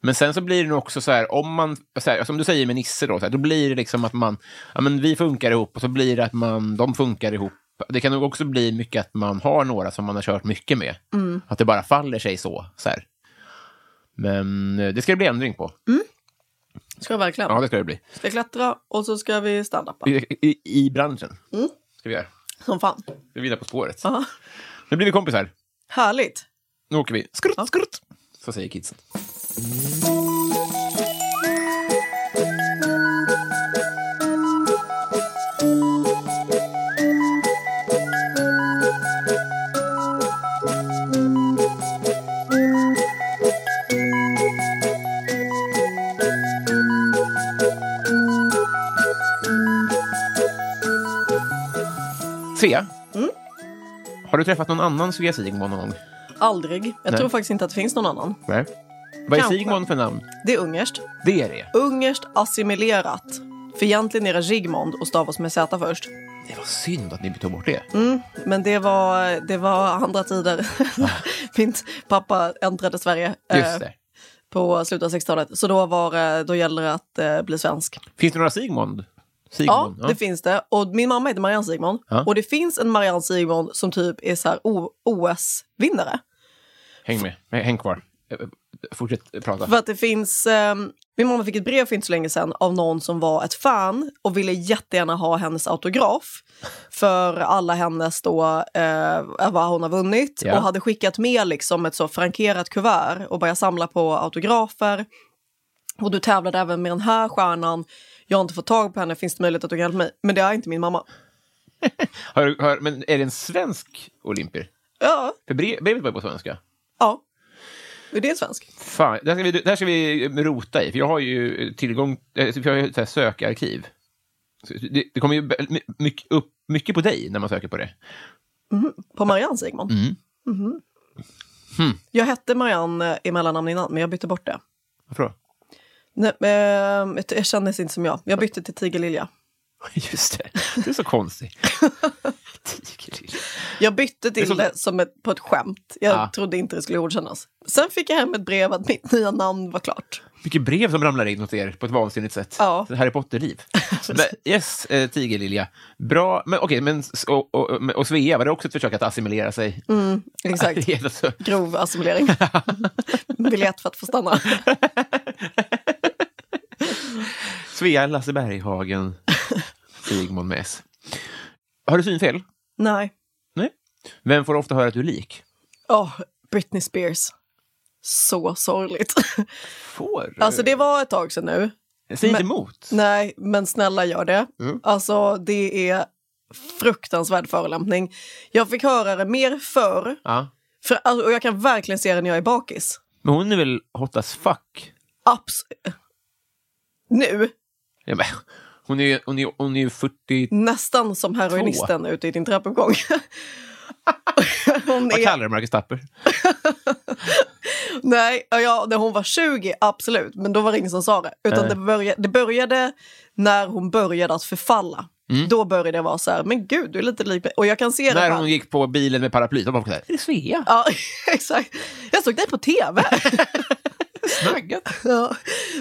Speaker 1: Men sen så blir det nog också så här, om man, så här, som du säger med Nisse, då, så här, då blir det liksom att man, ja men vi funkar ihop och så blir det att man, de funkar ihop. Det kan nog också bli mycket att man har några som man har kört mycket med. Att det bara faller sig så. så här. Men eh, det ska det bli ändring på.
Speaker 2: Ska jag verkligen.
Speaker 1: Ja, det ska det bli.
Speaker 2: Ska jag klättra och så ska vi standupa.
Speaker 1: I, i, i branschen. Ska vi göra.
Speaker 2: Som fan.
Speaker 1: Vi är vidare på spåret.
Speaker 2: Aha.
Speaker 1: Nu blir vi kompisar.
Speaker 2: Härligt.
Speaker 1: Nu åker vi. Skrutt, skrutt. Så säger kidsen. Svea, har du träffat någon annan Svea Sigmund någon gång?
Speaker 2: Aldrig. Jag
Speaker 1: Nej.
Speaker 2: tror faktiskt inte att det finns någon annan.
Speaker 1: Nej. Vad är
Speaker 2: Kanske.
Speaker 1: Sigmund för namn?
Speaker 2: Det är ungerskt.
Speaker 1: Det är det.
Speaker 2: Ungerskt assimilerat. För egentligen är det Zsigmond och stavas med Z först.
Speaker 1: Det var synd att ni tog bort det.
Speaker 2: Mm. Men det var, det var andra tider. Min pappa äntrade Sverige eh,
Speaker 1: Ah. Just det.
Speaker 2: på slutet av 60-talet. Så då, var, det- då gällde det att eh, bli svensk.
Speaker 1: Finns det några Sigmund?
Speaker 2: Ja,
Speaker 1: Sigmund?
Speaker 2: det finns det. Och min mamma heter Marianne Sigmund.
Speaker 1: Ja.
Speaker 2: Och det finns en Marianne Sigmund som typ är så här O- OS-vinnare.
Speaker 1: Häng med. Häng kvar. Eh, eh, Fortsätt eh, prata.
Speaker 2: För att det finns... ehm, min mamma fick ett brev för inte så länge sedan av någon som var ett fan och ville jättegärna ha hennes autograf för alla hennes då, eh, vad hon har vunnit
Speaker 1: Ja.
Speaker 2: och hade skickat med liksom ett så frankerat kuvert och börjat samla på autografer. Och du tävlade även med den här stjärnan. Jag har inte fått tag på henne, finns det möjlighet att du kan hjälpa mig? Men det är inte min mamma.
Speaker 1: Hör, hör, men är det en svensk olympier?
Speaker 2: Ja,
Speaker 1: För bre- brevet var ju på svenska.
Speaker 2: ja. Är det svensk?
Speaker 1: Fan, det här, ska vi, det här ska vi eh, rota i, för jag har ju tillgång... eh, för Jag har ju ett så här sökarkiv. Så Det, det kommer ju be- my- mycket, upp mycket på dig när man söker på det.
Speaker 2: På Marianne Sigmund?
Speaker 1: Mm. Hm.
Speaker 2: Mhm. Jag hette Marianne eh, i mellannamn innan, men jag bytte bort det.
Speaker 1: Varför då?
Speaker 2: Nej, men, eh, jag kändes inte som jag. Jag bytte till tigerlilja.
Speaker 1: Just det. Du är så konstig. Tigerlilla.
Speaker 2: Jag bytte
Speaker 1: är
Speaker 2: till
Speaker 1: som-
Speaker 2: det som ett, på ett skämt. Jag
Speaker 1: Ah.
Speaker 2: trodde inte det skulle godkännas. Sen fick jag hem ett brev att mitt nya namn var klart.
Speaker 1: Mycket brev som ramlar in åt er på ett vansinnigt sätt.
Speaker 2: Ja.
Speaker 1: Harry Potter-liv. Men, yes, eh, Tigerlilja. Bra. Men, okej, men, s- och, och, och Svea, var det också ett försök att assimilera sig?
Speaker 2: Mm, Exakt.
Speaker 1: Det är alltså-
Speaker 2: Grov assimilering. Biljett för att få stanna.
Speaker 1: Svea Lasse Berghagen. Vigmon med S. Har du synfel?
Speaker 2: Nej.
Speaker 1: Nej. Vem får ofta höra att du är lik?
Speaker 2: Åh, Britney Spears. Så sorgligt.
Speaker 1: Får?
Speaker 2: Alltså det var ett tag sedan nu.
Speaker 1: Säg inte
Speaker 2: men-
Speaker 1: emot.
Speaker 2: Nej, men snälla gör det.
Speaker 1: Mm.
Speaker 2: Alltså det är fruktansvärd förolämpning. Jag fick höra det mer förr.
Speaker 1: Ja.
Speaker 2: För, alltså, och jag kan verkligen se det när jag är bakis.
Speaker 1: Men hon är väl hot as fuck?
Speaker 2: Abs... Nu,
Speaker 1: Ja, men, hon är ju hon är, hon är ju 40...
Speaker 2: nästan som heroinisten ute i din trappuppgång. hon
Speaker 1: Vad
Speaker 2: är,
Speaker 1: kallar du Marcus Tapper?
Speaker 2: nej, ja, när hon var 20, absolut. Men då var det ingen som sa det. Utan
Speaker 1: Nej.
Speaker 2: det, började, det började när hon började att förfalla. Då började jag vara så här, men gud, du är lite lik mig." Och jag kan se det
Speaker 1: Mm. När
Speaker 2: här.
Speaker 1: hon gick på bilen med paraplyt. Då var folk så här, är det Svea?
Speaker 2: Ja, exakt. Jag såg dig på tv.
Speaker 1: Snaggat.
Speaker 2: Ja.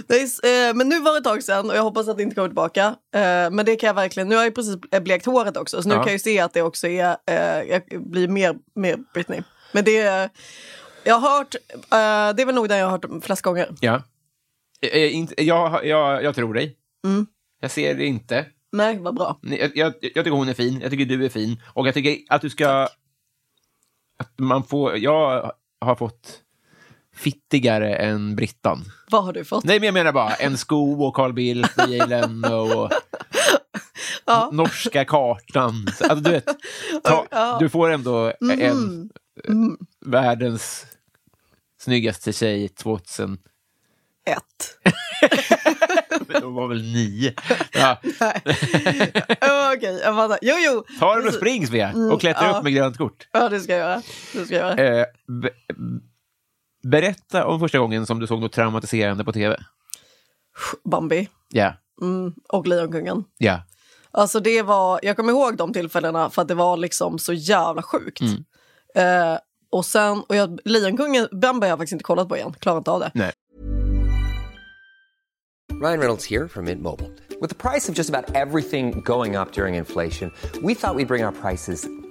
Speaker 2: Nej, s- eh, men nu var det ett tag sedan och jag hoppas att det inte kommer tillbaka. Eh, Men det kan jag verkligen. Nu har jag ju precis eh, blekt håret också så nu
Speaker 1: Ja.
Speaker 2: kan jag ju se att det också är, eh, jag blir mer, mer Britney. Men det är, jag har hört, eh, det är väl nog den jag har hört flest gånger.
Speaker 1: Ja. Eh, eh, inte- Jag, jag, jag tror dig.
Speaker 2: Mm.
Speaker 1: Jag ser det inte.
Speaker 2: Nej, vad bra.
Speaker 1: Nej, Jag, jag, jag tycker hon är fin, jag tycker du är fin och jag tycker att du ska... Att man får... Jag har fått fittigare än Brittan.
Speaker 2: Vad har du fått?
Speaker 1: Nej, men jag menar bara en sko och Carl Bildt och Jay Leno och
Speaker 2: Ja.
Speaker 1: norska kartan. Alltså, du, vet, ta,
Speaker 2: Ja. Mm-hmm. Mm.
Speaker 1: du får ändå en eh, världens snyggaste tjej 2000.
Speaker 2: Ett.
Speaker 1: Men De var väl nio? Ja,
Speaker 2: Nej. Okej, jag fattar. Jo, jo.
Speaker 1: ta den och spring, Svea, och klättra
Speaker 2: ja.
Speaker 1: upp med grönt kort.
Speaker 2: Ja, det ska jag göra. Det ska jag göra.
Speaker 1: Eh, be, berätta om första gången som du såg något traumatiserande på tv.
Speaker 2: Bambi
Speaker 1: Ja,
Speaker 2: mm, och Lejonkungen.
Speaker 1: ja.
Speaker 2: Alltså det var, jag kommer ihåg de tillfällena för att det var liksom så jävla sjukt. Eh, och sen, och jag, Lejonkungen, Bambi har jag faktiskt inte kollat på igen, klarar inte av det.
Speaker 3: Ryan Reynolds here from Mint Mobile. With the price of just about everything going up during inflation, we thought we'd bring our prices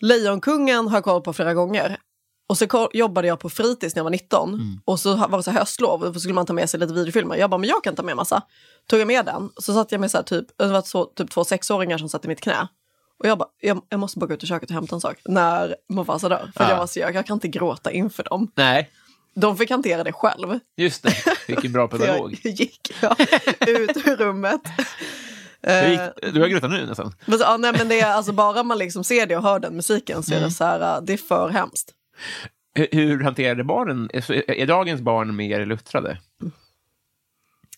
Speaker 2: Lejonkungen har jag kollat på flera gånger. Och så koll, jobbade jag på fritids när jag var 19 och så ha- var det så här höstlov och så skulle man ta med sig lite videofilmer. Jag bara, men jag kan ta med massa. Tog jag med den så satt jag med så här typ, det var så, typ två sexåringar som satt i mitt knä. Och jag bara, jag, jag måste bara gå ut i köket och hämta en sak när Mufasa dör. För
Speaker 1: Ja.
Speaker 2: jag var så, jag, jag kan inte gråta inför dem.
Speaker 1: Nej,
Speaker 2: De fick hantera det själv.
Speaker 1: just det. Vilken bra
Speaker 2: Så
Speaker 1: pedagog.
Speaker 2: jag gick ja, ut ur rummet.
Speaker 1: Hur gick- Du har grottat nu nästan.
Speaker 2: Men, så, ja, nej, men det är, alltså, bara man liksom ser det och hör den musiken så är
Speaker 1: Mm.
Speaker 2: det så här, äh, det är för hemskt.
Speaker 1: Hur- Hur hanterade barnen? Är- Är är dagens barn mer luttrade?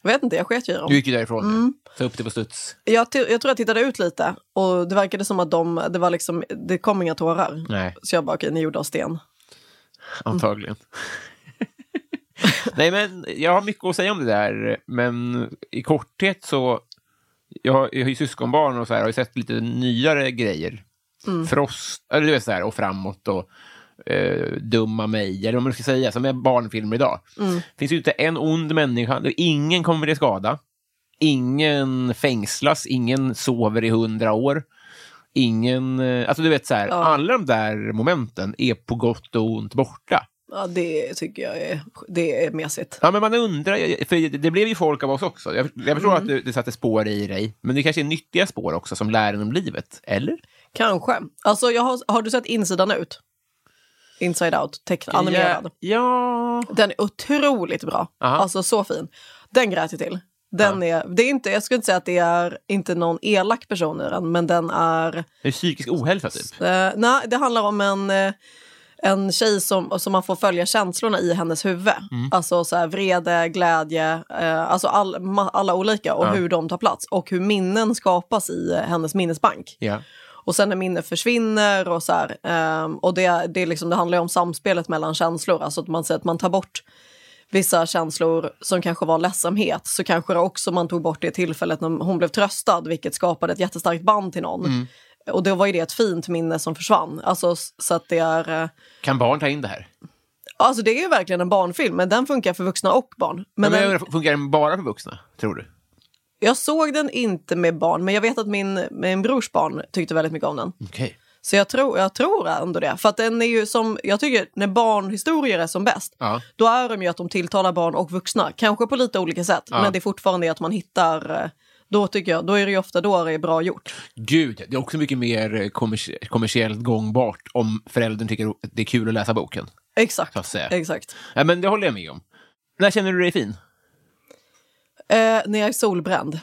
Speaker 2: Jag vet inte, jag sket ju i
Speaker 1: Du
Speaker 2: dem.
Speaker 1: gick ju därifrån. ja. Ta upp det på studs.
Speaker 2: Jag, ty- jag tror jag tittade ut lite och det verkade som att de, det, var liksom, det kom inga tårar.
Speaker 1: Nej,
Speaker 2: Så jag bara, okej, ni gjorde av sten.
Speaker 1: antagligen. Nej, men jag har mycket att säga om det där, men i korthet så... Jag har, jag har ju syskonbarn och så här, har ju sett lite nyare grejer. Frost, eller du vet så här, och framåt och eh, Dumma mig, eller vad man ska säga, som är barnfilmer idag. Mm. finns ju inte en ond människa, det- ingen kommer till skada. Ingen fängslas, ingen sover i hundra år. Ingen... eh, Alltså du vet så här, alla de där momenten är på gott och ont borta.
Speaker 2: Ja, det tycker jag är, det är mesigt.
Speaker 1: Ja, men man undrar, för det blev ju folk av oss också. Jag, jag förstår
Speaker 2: Mm.
Speaker 1: att du, det satte spår i dig, men det kanske är nyttiga spår också som lär en om livet, eller?
Speaker 2: Kanske. Alltså, jag har, har du sett Insidan ut? Inside out, tecknad, animerad.
Speaker 1: Ja. ja.
Speaker 2: Den är otroligt bra.
Speaker 1: Aha.
Speaker 2: Alltså så fin. Den grät jag till. Den är, det är inte, jag skulle inte säga att det är inte någon elak person i den, men den är...
Speaker 1: Det är psykisk ohälsa typ.
Speaker 2: Eh, nej, det handlar om en, eh, en tjej som, som man får följa känslorna i hennes huvud. Alltså så här, vrede, glädje, eh, alltså all, ma, alla olika och hur de tar plats. Och hur minnen skapas i eh, hennes minnesbank.
Speaker 1: Ja.
Speaker 2: Och sen när minnet försvinner och så här. ehm, och det, det, är liksom, det handlar ju om samspelet mellan känslor. Alltså att man säger att man tar bort vissa känslor som kanske var ledsamhet så kanske det också man tog bort det tillfället när hon blev tröstad vilket skapade ett jättestarkt band till någon.
Speaker 1: Mm.
Speaker 2: Och då var ju det ett fint minne som försvann. Alltså, s- så att det är... eh,
Speaker 1: Kan barn ta in det här?
Speaker 2: Alltså det är ju verkligen en barnfilm, men den funkar för vuxna och barn.
Speaker 1: Men,
Speaker 2: Men
Speaker 1: jag
Speaker 2: den,
Speaker 1: undrar, funkar den bara för vuxna, tror du?
Speaker 2: jag såg den inte med barn, men jag vet att min, min brors barn tyckte väldigt mycket om den.
Speaker 1: Okej.
Speaker 2: Så jag tror, jag tror ändå det. För att den är ju som, jag tycker när barnhistorier är som bäst,
Speaker 1: Ja.
Speaker 2: då är de ju att de tilltalar barn och vuxna. Kanske på lite olika sätt, men det är fortfarande att man hittar, eh, då tycker jag, då är det ju ofta då det är bra gjort.
Speaker 1: Gud, det är också mycket mer eh, kommers- kommersiellt gångbart om föräldern tycker att det är kul att läsa boken.
Speaker 2: Exakt.
Speaker 1: Så att säga.
Speaker 2: Exakt.
Speaker 1: Ja, men det håller jag med om. När känner du dig fin?
Speaker 2: Eh, när jag är solbränd.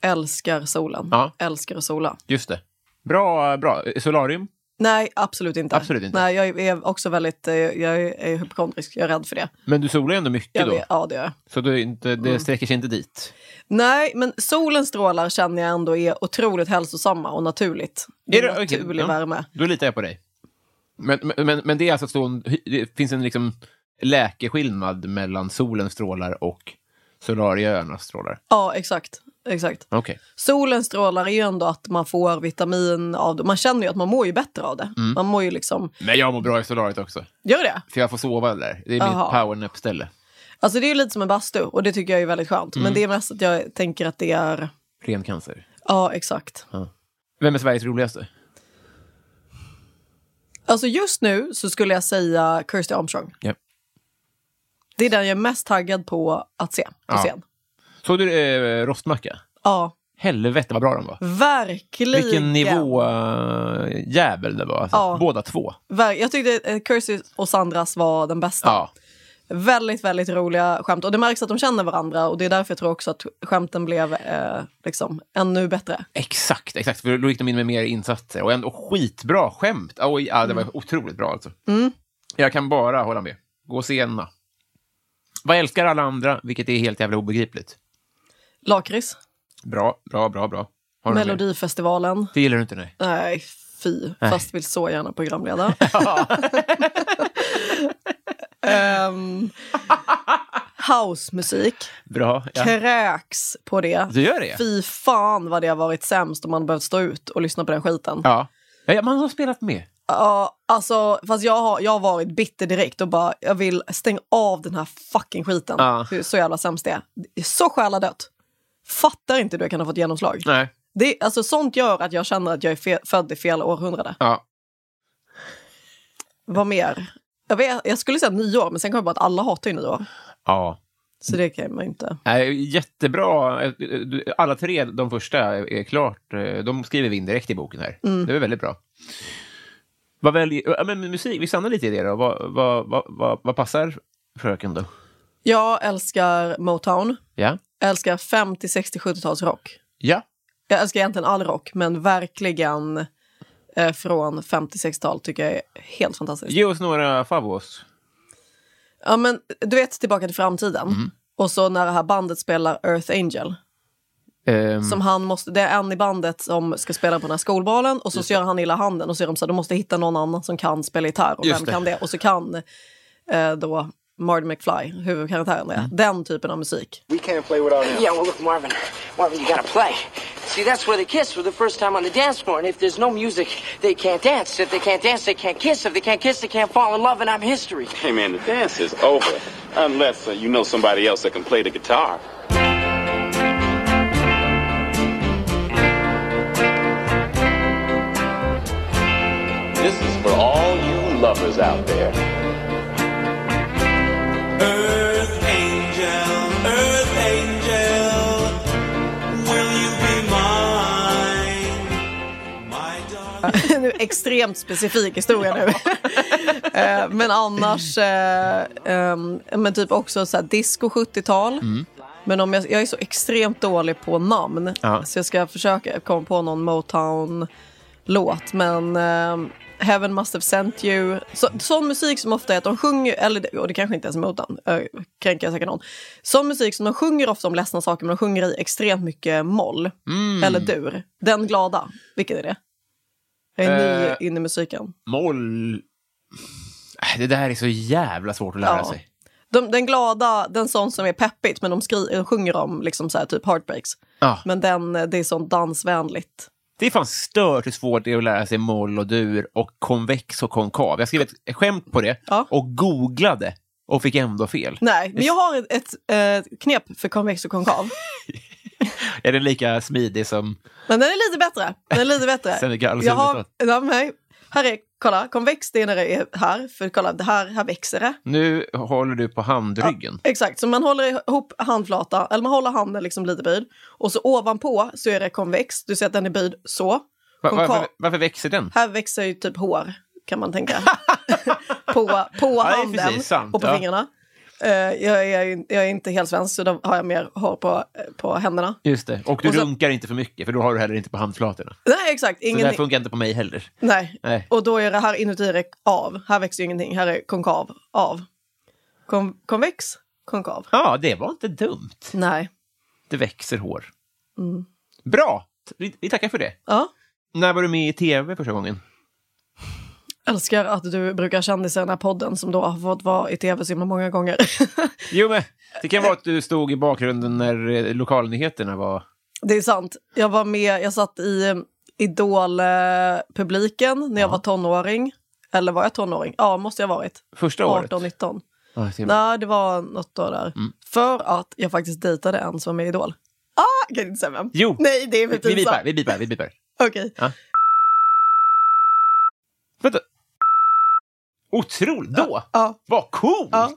Speaker 2: Älskar solen.
Speaker 1: Mm. Ja.
Speaker 2: Älskar att sola.
Speaker 1: Just det. Bra, bra. Eh, Solarium?
Speaker 2: Nej, absolut inte.
Speaker 1: Absolut inte.
Speaker 2: Nej, jag är också väldigt, eh, jag är hypokondrisk, jag är rädd för det.
Speaker 1: Men du solar ju ändå mycket
Speaker 2: Jag
Speaker 1: då,
Speaker 2: vet, Mm. ja, det gör jag.
Speaker 1: så du är inte, det sträcker sig inte dit.
Speaker 2: Nej, men solens strålar känner jag ändå är otroligt hälsosamma och naturligt. Det
Speaker 1: Är
Speaker 2: är
Speaker 1: det- okej,
Speaker 2: naturlig
Speaker 1: ja.
Speaker 2: värme.
Speaker 1: Då litar jag på dig. Men, men- men, men det är alltså så, det finns en liksom läkeskillnad mellan solens strålar och solarieöarnas strålar.
Speaker 2: Ja, exakt. exakt.
Speaker 1: Okej.
Speaker 2: Solens strålar är ju ändå att man får vitamin av det. Man känner ju att man mår ju bättre av det.
Speaker 1: Mm.
Speaker 2: Man mår ju liksom...
Speaker 1: Men jag mår bra i solariet också,
Speaker 2: Gör det?
Speaker 1: för jag får sova där. Det är mitt
Speaker 2: Aha.
Speaker 1: powernap-ställe.
Speaker 2: Alltså det är ju lite som en bastu och det tycker jag är väldigt skönt.
Speaker 1: Mm.
Speaker 2: Men det är mest att jag tänker att det är...
Speaker 1: Ren cancer.
Speaker 2: Ja, exakt.
Speaker 1: Vem är Sveriges roligaste?
Speaker 2: Alltså just nu så skulle jag säga Kirsty Armstrong.
Speaker 1: Ja.
Speaker 2: Det är den jag är mest taggad på att se på
Speaker 1: Ja.
Speaker 2: scen.
Speaker 1: Såg du eh, Rostmacka?
Speaker 2: Ja,
Speaker 1: Helvete vad bra de var.
Speaker 2: verkligen.
Speaker 1: Vilken nivåjävel det var. Alltså.
Speaker 2: Ja.
Speaker 1: Båda två.
Speaker 2: Ver- Jag tyckte eh, Kirsty och Sandras var den bästa.
Speaker 1: Ja.
Speaker 2: Väldigt, väldigt roliga skämt. Och det märks att de känner varandra och det är därför jag tror också att skämten blev eh, liksom ännu bättre.
Speaker 1: Exakt, exakt. För då gick de in med mer insatser. Och ändå skitbra skämt. Ah, Oj, ja, det var otroligt bra alltså. Jag kan bara hålla med. Gå och se Enna. Vad älskar alla andra, vilket är helt jävla obegripligt.
Speaker 2: Lakrits,
Speaker 1: Bra, bra, bra, bra. Har du något mer?
Speaker 2: Melodifestivalen.
Speaker 1: Det gillar du inte, nej.
Speaker 2: Nej, fy. Fast vill så gärna programleda. um, Housemusik.
Speaker 1: Bra. Ja.
Speaker 2: Kräks på det.
Speaker 1: Du gör det?
Speaker 2: Fy fan vad det har varit sämst om man behövt stå ut och lyssna på den skiten.
Speaker 1: Ja. Ja, ja, man har spelat med.
Speaker 2: Ja, alltså, fast jag har, jag har varit bitter direkt och bara, jag vill stänga av den här fucking skiten.
Speaker 1: Ja.
Speaker 2: Det är så jävla sämst det är. Det är så själadött. Fattar inte hur det kan ha fått genomslag.
Speaker 1: Nej.
Speaker 2: Det, är- alltså, sånt gör att jag känner att jag är fe- född i fel århundrade.
Speaker 1: Ja.
Speaker 2: Vad mer? Jag, vet, jag skulle säga nyår, men sen kom jag på att alla hatar ju nyår.
Speaker 1: ja.
Speaker 2: Så det kan man ju inte.
Speaker 1: Nej, jättebra. eh, Alla tre, de första, eh, är klart. De skriver vi in direkt i boken här.
Speaker 2: Mm.
Speaker 1: Det är väldigt bra. Vad väljer, ja, men musik, vi stannar lite i det då. Vad, vad, vad, vad, vad passar fröken då?
Speaker 2: Jag älskar Motown.
Speaker 1: Ja?
Speaker 2: Jag älskar 50, 60, 70-tals rock.
Speaker 1: Ja.
Speaker 2: Jag älskar egentligen all rock, men verkligen eh, från 50-60-tal tycker jag är helt fantastiskt.
Speaker 1: Ge oss några favos.
Speaker 2: Ja, men du vet Tillbaka till framtiden.
Speaker 1: Mm.
Speaker 2: Och så när det här bandet spelar Earth Angel.
Speaker 1: Ehm,
Speaker 2: Som han måste, det är en i bandet som ska spela på den här skolbalen och så, så gör han illa handen och så är de så här, de måste hitta någon annan som kan spela gitarr. Och
Speaker 1: Just
Speaker 2: vem
Speaker 1: det.
Speaker 2: kan det? Och så kan eh, då Marty McFly, huvudkaraktären,
Speaker 1: Mm.
Speaker 2: det. Den typen av musik.
Speaker 4: We can't play without him.
Speaker 5: Yeah, well, look, Marvin. Marvin, you gotta play. See, that's where they kiss for the first time on the dance floor. And if there's no music, they can't dance. If they can't dance, they can't kiss. If they can't kiss, they can't fall in love, and I'm history.
Speaker 4: Hey man, the dance is over. Unless uh, you know somebody else that can play the guitar. This is for all you lovers out there.
Speaker 6: Earth angel, earth angel, will you be mine? My darling.
Speaker 2: nu extremt specifik historia nu. Eh,
Speaker 1: Mm.
Speaker 2: men annars, eh, ehm, men typ också så här disco 70-tal. Men om jag, jag är så extremt dålig på namn.
Speaker 1: Ja.
Speaker 2: Så jag ska försöka komma på någon Motown-låt. Men eh, Heaven Must Have Sent You. Så, sån musik som ofta är att de sjunger, eller det- och det kanske inte ens är Motown, uh, kränker jag säkert någon. Sån musik som de sjunger ofta om ledsna saker men de sjunger i extremt mycket moll.
Speaker 1: Mm.
Speaker 2: Eller dur. Den glada, vilken är det? Jag är
Speaker 1: Eh.
Speaker 2: ny in i musiken.
Speaker 1: Moll... Äh, Det där är så jävla svårt att lära
Speaker 2: Ja.
Speaker 1: sig.
Speaker 2: De, den glada, den sån som är peppigt men de skri- de sjunger om liksom så här, typ heartbreaks.
Speaker 1: Ja.
Speaker 2: Men den, eh, det är sånt dansvänligt.
Speaker 1: Det är fan stört hur svårt det är att lära sig moll och dur och konvex och konkav. Jag skrev ett skämt på det
Speaker 2: Ja.
Speaker 1: och googlade och fick ändå fel.
Speaker 2: Nej, men jag har ett, ett eh, knep för konvex och konkav.
Speaker 1: Är den lika smidig som...
Speaker 2: Men den är lite bättre. Den är lite bättre.
Speaker 1: Senegals
Speaker 2: jag har,
Speaker 1: huvudstad.
Speaker 2: ja, men här- här är, kolla, konvex det är när det är här, för kolla, det här, här växer det.
Speaker 1: Nu håller du på handryggen.
Speaker 2: Exakt, så man håller ihop handflata, eller man håller handen liksom lite böjd. Och så ovanpå så är det konvex, du ser att den är böjd så.
Speaker 1: Va-
Speaker 2: Konkav-
Speaker 1: varför, varför växer den?
Speaker 2: Här växer ju typ hår, kan man tänka. på på
Speaker 1: det är
Speaker 2: handen
Speaker 1: precis sant,
Speaker 2: och på
Speaker 1: ja.
Speaker 2: fingrarna. Eh, jag, är, ju- jag är inte helt svensk, så då har jag mer hår på, eh, på händerna.
Speaker 1: Just det. Och du
Speaker 2: Och så-
Speaker 1: runkar inte för mycket, för då har du heller inte på handflatorna.
Speaker 2: Nej, exakt.
Speaker 1: Så det här
Speaker 2: Ingenting.
Speaker 1: funkar inte på mig heller.
Speaker 2: Nej.
Speaker 1: Nej.
Speaker 2: Och då är det här inuti det av. Här växer ju ingenting. Här är konkav. Av. Kon, konvex? Konkav.
Speaker 1: Ja, det var inte dumt.
Speaker 2: Nej.
Speaker 1: Det växer hår. Bra! Vi, vi tackar för det.
Speaker 2: Ja.
Speaker 1: När var du med i tv första gången?
Speaker 2: Älskar att du brukar kändisa i den här podden som då har fått vara i tv så himla många gånger.
Speaker 1: Jo, men det kan vara att du stod i bakgrunden när eh, lokalnyheterna var...
Speaker 2: Det är sant. Jag var med, jag satt i eh, Idol-publiken när jag var tonåring. Eller var jag tonåring? Ja, måste jag ha varit.
Speaker 1: Första året?
Speaker 2: 18, 19.
Speaker 1: Ja, det är bra.
Speaker 2: Nej, det var något då där.
Speaker 1: Mm.
Speaker 2: För att jag faktiskt dejtade en som är i Idol. Ah, jag kan inte säga vem.
Speaker 1: Jo.
Speaker 2: Nej, det är för
Speaker 1: Vi- Vi bipar,
Speaker 2: pinsamt.
Speaker 1: vi bipar, vi bipar.
Speaker 2: Okej.
Speaker 1: Vänta. Otroligt! Då?
Speaker 2: Ja.
Speaker 1: Vad coolt!
Speaker 2: Ja.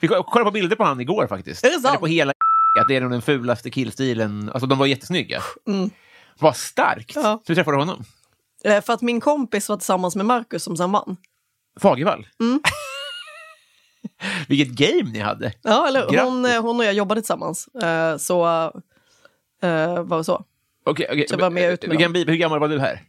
Speaker 1: Vi ko- kollade på bilder på han igår faktiskt.
Speaker 2: Är det sant?
Speaker 1: Eller på hela att det är nog den fulaste killstilen. Alltså de var jättesnygga.
Speaker 2: Mm.
Speaker 1: Vad starkt!
Speaker 2: Ja.
Speaker 1: Hur träffade du honom?
Speaker 2: Eh, För att min kompis var tillsammans med Marcus som sen vann.
Speaker 1: Fagervall?
Speaker 2: Mm.
Speaker 1: Vilket game ni hade!
Speaker 2: Ja, eller hon,
Speaker 1: Grattis.
Speaker 2: eh, hon och jag jobbade tillsammans. Eh, Så eh, var det så.
Speaker 1: Okej, okej.
Speaker 2: Så jag var med ut med
Speaker 1: Vi kan
Speaker 2: dem.
Speaker 1: bipa. Hur gammal var du här?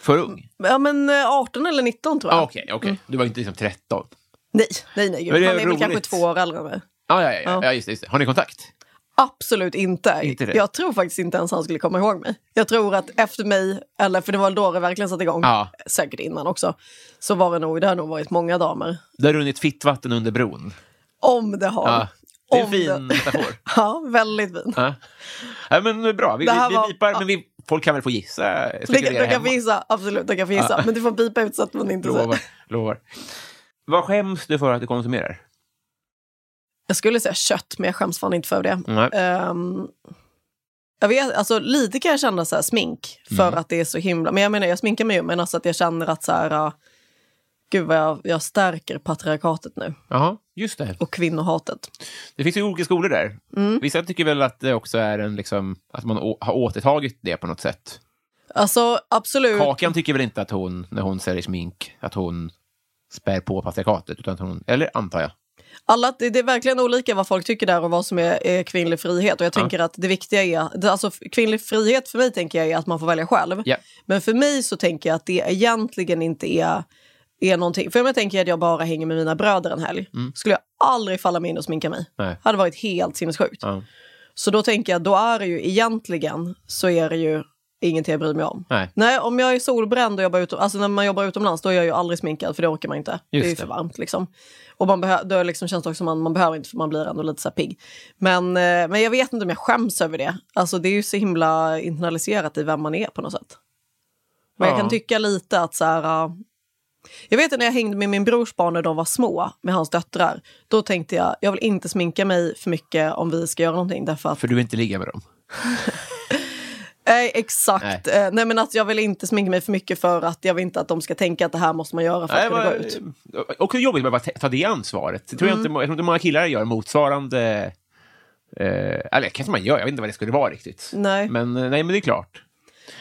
Speaker 1: För ung?
Speaker 2: Ja, men eh, 18 eller 19 tror jag.
Speaker 1: Ah, Okej, okej.
Speaker 2: Mm.
Speaker 1: Du var inte liksom 13?
Speaker 2: Nej, nej,
Speaker 1: Men
Speaker 2: nej. Gud.
Speaker 1: det är
Speaker 2: Han är väl
Speaker 1: roligt.
Speaker 2: kanske två år äldre än mig.
Speaker 1: Ah, ja, ja, ja.
Speaker 2: Ja.
Speaker 1: ja just, det, just det. Har ni kontakt?
Speaker 2: Absolut inte.
Speaker 1: Inte det?
Speaker 2: jag tror faktiskt inte ens han skulle komma ihåg mig. Jag tror att efter mig, eller för det var då det verkligen satte igång,
Speaker 1: Ja.
Speaker 2: säkert innan också, så var det nog, det har nog varit många damer.
Speaker 1: Det har runnit fittvatten under bron.
Speaker 2: Om det har.
Speaker 1: Ja. Det är en
Speaker 2: Om
Speaker 1: fin
Speaker 2: det-
Speaker 1: metafor.
Speaker 2: ja, väldigt fin.
Speaker 1: Ja. Ja, men bra, vi,
Speaker 2: Det här
Speaker 1: vi,
Speaker 2: var-
Speaker 1: vi bipar,
Speaker 2: ja.
Speaker 1: men vi, folk kan väl få gissa? eh,
Speaker 2: Det,
Speaker 1: spekulera
Speaker 2: de kan
Speaker 1: hemma.
Speaker 2: få gissa, absolut, de kan få gissa.
Speaker 1: Ja.
Speaker 2: Men du får pipa ut så att man inte
Speaker 1: Lovar,
Speaker 2: säger.
Speaker 1: lovar. Vad skäms du för att du konsumerar?
Speaker 2: Jag skulle säga kött, men jag skäms fan inte för det.
Speaker 1: Nej.
Speaker 2: Ehm, jag vet, alltså lite kan jag känna så här smink för att det är så himla... Men jag menar, jag sminkar mig ju, men alltså att jag känner att så här... ah, gud vad jag, jag stärker patriarkatet nu.
Speaker 1: Jaha, just det.
Speaker 2: Och kvinnohatet.
Speaker 1: Det finns ju olika skolor där.
Speaker 2: Mm.
Speaker 1: Vissa tycker väl att det också är en, liksom, att man å- har återtagit det på något sätt.
Speaker 2: Alltså absolut.
Speaker 1: Kakan tycker väl inte att hon, när hon säljer smink, att hon spär på patriarkatet, utan att hon, eller antar jag.
Speaker 2: Alla, det, det är verkligen olika vad folk tycker där och vad som är, är kvinnlig frihet. Och jag tänker att det viktiga är... Det, alltså, f- kvinnlig frihet för mig tänker jag är att man får välja själv.
Speaker 1: Ja.
Speaker 2: Men för mig så tänker jag att det egentligen inte är, är någonting. För om jag tänker att jag bara hänger med mina bröder en helg skulle jag aldrig falla mig in och sminka mig.
Speaker 1: Mm. Nej.
Speaker 2: hade varit helt sinnessjukt.
Speaker 1: Ja.
Speaker 2: Så då tänker jag, då är det ju egentligen så är det ju ingenting jag bryr mig om.
Speaker 1: Nej.
Speaker 2: om jag är solbränd och jobbar utom, alltså när man jobbar utomlands då är jag ju aldrig sminkad för det orkar man inte. det är ju
Speaker 1: Just det.
Speaker 2: för varmt liksom. Och man behö- då liksom känns det också som man, man behöver inte för man blir ändå lite så här pigg. Men, eh, men jag vet inte om jag skäms över det. Alltså det är ju så himla internaliserat i vem man är på något sätt. Men jag
Speaker 1: Ja.
Speaker 2: kan tycka lite att så här... äh, Jag vet att när jag hängde med min brors barn när de var små, med hans döttrar, då tänkte jag jag vill inte sminka mig för mycket om vi ska göra någonting. Därför att,
Speaker 1: För du vill inte ligga med dem.
Speaker 2: nej, exakt. Nej. nej, men att jag vill inte sminka mig för mycket för att jag vill inte att de ska tänka att det här måste man göra för att
Speaker 1: Nej,
Speaker 2: kunna
Speaker 1: vad-
Speaker 2: gå ut.
Speaker 1: och hur jobbigt att bara ta det ansvaret. Det tror
Speaker 2: Mm.
Speaker 1: jag, inte, jag tror inte många killar gör motsvarande... Eh, eller kanske man gör, jag vet inte vad det skulle vara riktigt.
Speaker 2: Nej.
Speaker 1: Men, eh, nej, men det är klart.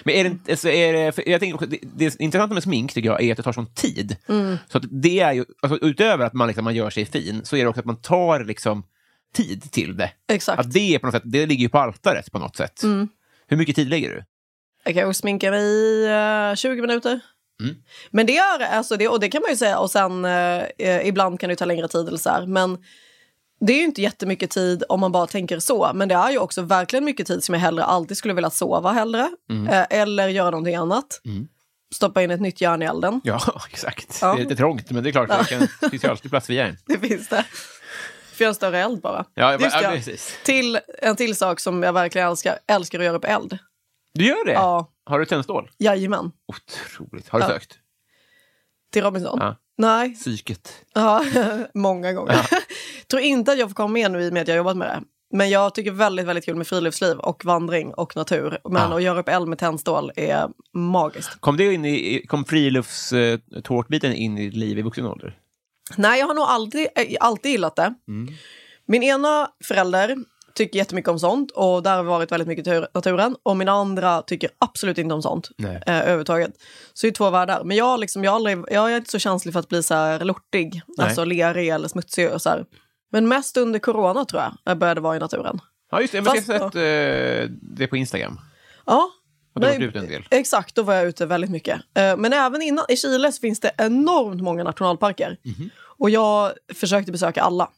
Speaker 1: Men är det, alltså, är det, för jag tänker också, det, det intressanta med smink tycker jag är att det tar sån tid.
Speaker 2: Mm.
Speaker 1: Så att det är ju, alltså, utöver att man, liksom, man gör sig fin, så är det också att man tar liksom tid till det.
Speaker 2: Exakt.
Speaker 1: Att det, är på något sätt, det ligger ju på altaret på något sätt.
Speaker 2: Mm.
Speaker 1: Hur mycket tid lägger du?
Speaker 2: Jag kanske sminkar mig i eh, 20 minuter.
Speaker 1: Mm.
Speaker 2: Men det gör alltså det, och det kan man ju säga. Och sen eh, eh, ibland kan det ju ta längre tid eller så här. Men det är ju inte jättemycket tid om man bara tänker så. Men det är ju också verkligen mycket tid som jag hellre alltid skulle vilja sova hellre.
Speaker 1: Mm.
Speaker 2: Eh, eller göra någonting annat. Stoppa in ett nytt järn i elden.
Speaker 1: Ja, exakt.
Speaker 2: Ja.
Speaker 1: Det är lite trångt, men det är klart, det kan, det finns ju alltid plats för järn.
Speaker 2: Det finns det. För jag har en större eld bara.
Speaker 1: Ja, jag bara,
Speaker 2: Just
Speaker 1: ja,
Speaker 2: det.
Speaker 1: precis.
Speaker 2: Till en till sak som jag verkligen älskar, älskar att göra upp eld.
Speaker 1: Du gör det?
Speaker 2: Ja,
Speaker 1: Har du tändstål?
Speaker 2: jajamän.
Speaker 1: Otroligt. Har du
Speaker 2: Ja.
Speaker 1: sökt?
Speaker 2: Till Robinson?
Speaker 1: Ja.
Speaker 2: Nej,
Speaker 1: Psyket.
Speaker 2: Ja, många gånger. tror inte att jag får komma med nu i och med att jag har jobbat med det. Men jag tycker väldigt, väldigt kul med friluftsliv och vandring och natur. Men
Speaker 1: Ja.
Speaker 2: att göra upp eld med tändstål är magiskt.
Speaker 1: Kom, det in i, kom friluftstårtbiten in i ditt liv i vuxen ålder?
Speaker 2: Nej, jag har nog aldrig, eh, alltid gillat det.
Speaker 1: Mm.
Speaker 2: Min ena förälder tycker jättemycket om sånt och där har vi varit väldigt mycket i tur- naturen. Och min andra tycker absolut inte om sånt
Speaker 1: Nej.
Speaker 2: eh, överhuvudtaget. Så det är två världar. Men jag, liksom, jag, har aldrig, jag är inte så känslig för att bli så här lortig,
Speaker 1: Nej.
Speaker 2: alltså lerig eller smutsig. Och så här. Men mest under corona tror jag, jag började vara i naturen.
Speaker 1: Ja, just det. Men
Speaker 2: Fast-
Speaker 1: jag har sett eh, det på Instagram.
Speaker 2: Ja.
Speaker 1: Och du har
Speaker 2: Nej,
Speaker 1: varit ute en del.
Speaker 2: Exakt, då var jag ute väldigt mycket. Eh, Men även innan, i Chile så finns det enormt många nationalparker.
Speaker 1: Mhm.
Speaker 2: Och jag försökte besöka alla.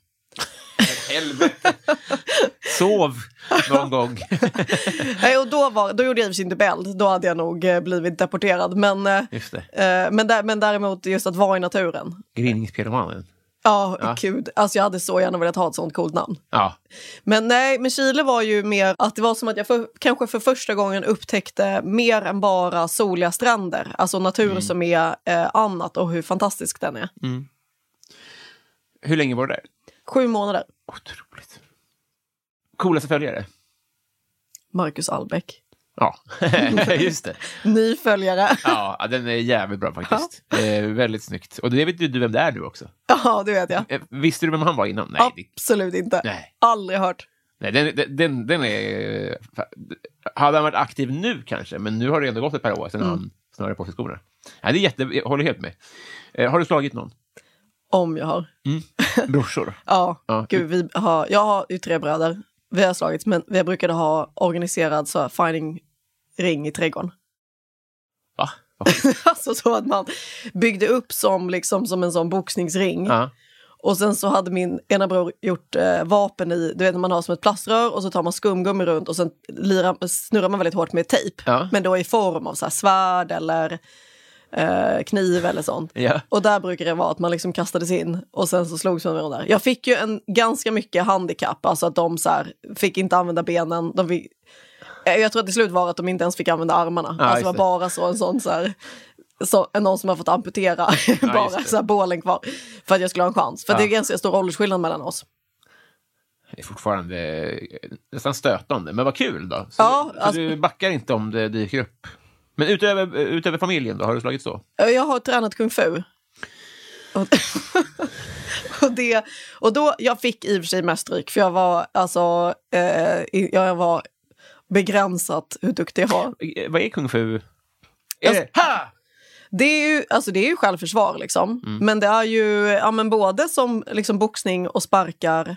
Speaker 1: Helvete! Sov någon gång.
Speaker 2: Nej, och då, var, då gjorde jag i och för sig inte bäld, då hade jag nog eh, blivit deporterad. Men, eh,
Speaker 1: Just det.
Speaker 2: eh, men, där, men däremot just att vara i naturen.
Speaker 1: Grinningspyromanen.
Speaker 2: Ja,
Speaker 1: Ja.
Speaker 2: gud. Alltså jag hade så gärna velat ha ett sånt coolt namn.
Speaker 1: Ja.
Speaker 2: Men nej, men Chile var ju mer att det var som att jag för, kanske för första gången upptäckte mer än bara soliga stränder. Alltså natur
Speaker 1: Mm.
Speaker 2: som är eh, annat och hur fantastisk den är.
Speaker 1: Hur länge var du där?
Speaker 2: Sju månader.
Speaker 1: Otroligt. Coolaste följare?
Speaker 2: Marcus Albeck.
Speaker 1: Ja, just det.
Speaker 2: Ny följare.
Speaker 1: Ja, den är jävligt bra faktiskt. Eh, väldigt snyggt. Och det vet ju du vem det är nu också.
Speaker 2: Ja, det vet jag.
Speaker 1: Eh, visste du vem han var innan? Nej, det,
Speaker 2: Absolut inte.
Speaker 1: Nej.
Speaker 2: Aldrig hört.
Speaker 1: nej den, den- den, den är... eh, fa- Hade han varit aktiv nu kanske, men nu har det ändå gått ett par år sedan
Speaker 2: Mm.
Speaker 1: han snurrade på sig skorna. Ja, det är jätte, jag håller helt med. Eh, har du slagit någon?
Speaker 2: Om jag har.
Speaker 1: Brorsor?
Speaker 2: Ja,
Speaker 1: Ja.
Speaker 2: gud, vi har, jag har ju tre bröder. Vi har slagits, men vi brukade ha organiserad så här, fining ring i trädgården.
Speaker 1: Va?
Speaker 2: alltså så att man byggde upp som, liksom, som en sån boxningsring.
Speaker 1: Ja.
Speaker 2: Och sen så hade min ena bror gjort eh, vapen i, du vet när man har som ett plaströr och så tar man skumgummi runt och sen lirar, snurrar man väldigt hårt med tejp.
Speaker 1: Ja.
Speaker 2: Men då i form av så här svärd eller eh, kniv eller sånt.
Speaker 1: Ja.
Speaker 2: Och där brukar det vara att man liksom kastades in och sen så slogs man med varandra. Jag fick ju en ganska mycket handikapp, alltså att de så här, fick inte använda benen. De fick, Eh, jag tror att till slut var att de inte ens fick använda armarna.
Speaker 1: Ja,
Speaker 2: alltså
Speaker 1: just
Speaker 2: det
Speaker 1: det.
Speaker 2: var bara så en sån så här, så, någon som har fått amputera bara
Speaker 1: det.
Speaker 2: så här, bålen kvar för att jag skulle ha en chans. För
Speaker 1: Ja.
Speaker 2: det är ganska stor åldersskillnad mellan oss.
Speaker 1: Det är fortfarande eh, nästan stötande, men vad kul då. Så,
Speaker 2: Ja,
Speaker 1: så
Speaker 2: alltså-
Speaker 1: du backar inte om det dyker upp. Men utöver, eh, utöver familjen då, har du slagit så?
Speaker 2: Eh, Jag har tränat kung fu. Och, och, det, och då, jag fick i och för sig mest stryk för jag var alltså, eh, i- jag var begränsat hur duktig jag var.
Speaker 1: Eh, Vad är kung fu? Eh, Är
Speaker 2: Alltså-
Speaker 1: det, ha!
Speaker 2: Det är ju, alltså det är ju självförsvar, liksom.
Speaker 1: Mm.
Speaker 2: men det är ju ja, men både som liksom, boxning och sparkar.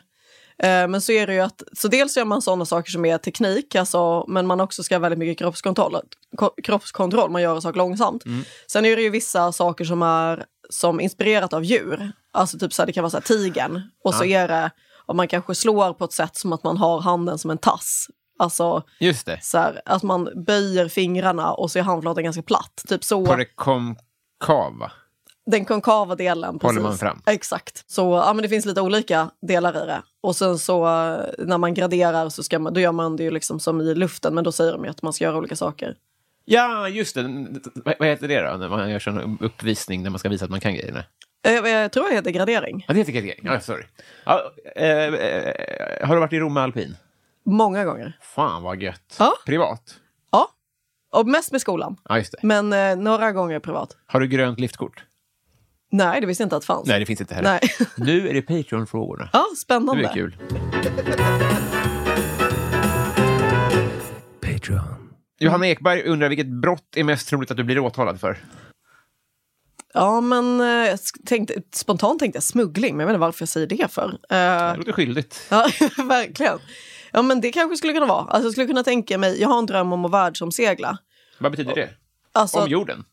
Speaker 2: Eh, men så är det ju att, så dels gör man sådana saker som är teknik, alltså, men man också ska ha väldigt mycket kroppskontroll. Ko- kroppskontroll man gör saker långsamt.
Speaker 1: Mm.
Speaker 2: Sen är det ju vissa saker som är som inspirerat av djur. Alltså typ så här, det kan vara så här, tigern och så är det om man kanske slår på ett sätt som att man har handen som en tass. Alltså
Speaker 1: Just det.
Speaker 2: så här, att man böjer fingrarna och så är handflatan ganska platt. Typ så
Speaker 1: På det konkava.
Speaker 2: den konkava delen.
Speaker 1: Håller
Speaker 2: precis.
Speaker 1: man fram.
Speaker 2: Exakt. Så ja, men det finns lite olika delar i det. Och sen så eh, när man graderar så ska man, då gör man det ju liksom som i luften, men då säger de ju att man ska göra olika saker.
Speaker 1: Ja, just det. Vad, vad heter det då? När man gör sån uppvisning där man ska visa att man kan grejerna.
Speaker 2: Eh, Jag tror jag heter gradering.
Speaker 1: Ja, det heter gradering. Ja, sorry. Ja, eh, eh, har du varit i Rom med alpin?
Speaker 2: Många gånger.
Speaker 1: Fan vad gött.
Speaker 2: Ja.
Speaker 1: Privat?
Speaker 2: Ja. Och mest med skolan.
Speaker 1: Ja, just det.
Speaker 2: Men eh, några gånger privat.
Speaker 1: Har du grönt liftkort?
Speaker 2: Nej, det visste jag inte att det fanns.
Speaker 1: Nej, det finns inte heller.
Speaker 2: Nej.
Speaker 1: Nu är det Patreon-frågorna.
Speaker 2: Ja,
Speaker 1: Det
Speaker 2: spännande.
Speaker 1: blir kul.
Speaker 3: Patreon.
Speaker 1: Johanna Ekberg undrar vilket brott är mest troligt att du blir åtalad för?
Speaker 2: Ja, men eh, jag sk- tänkte, spontant tänkte jag smuggling, men jag vet inte varför jag säger det för. Eh,
Speaker 1: Det låter skyldigt.
Speaker 2: Ja, verkligen. Ja, men det kanske skulle kunna vara. Alltså, jag skulle kunna tänka mig, jag har en dröm om att världsomsegla.
Speaker 1: Vad betyder det?
Speaker 2: Alltså,
Speaker 1: Om jorden?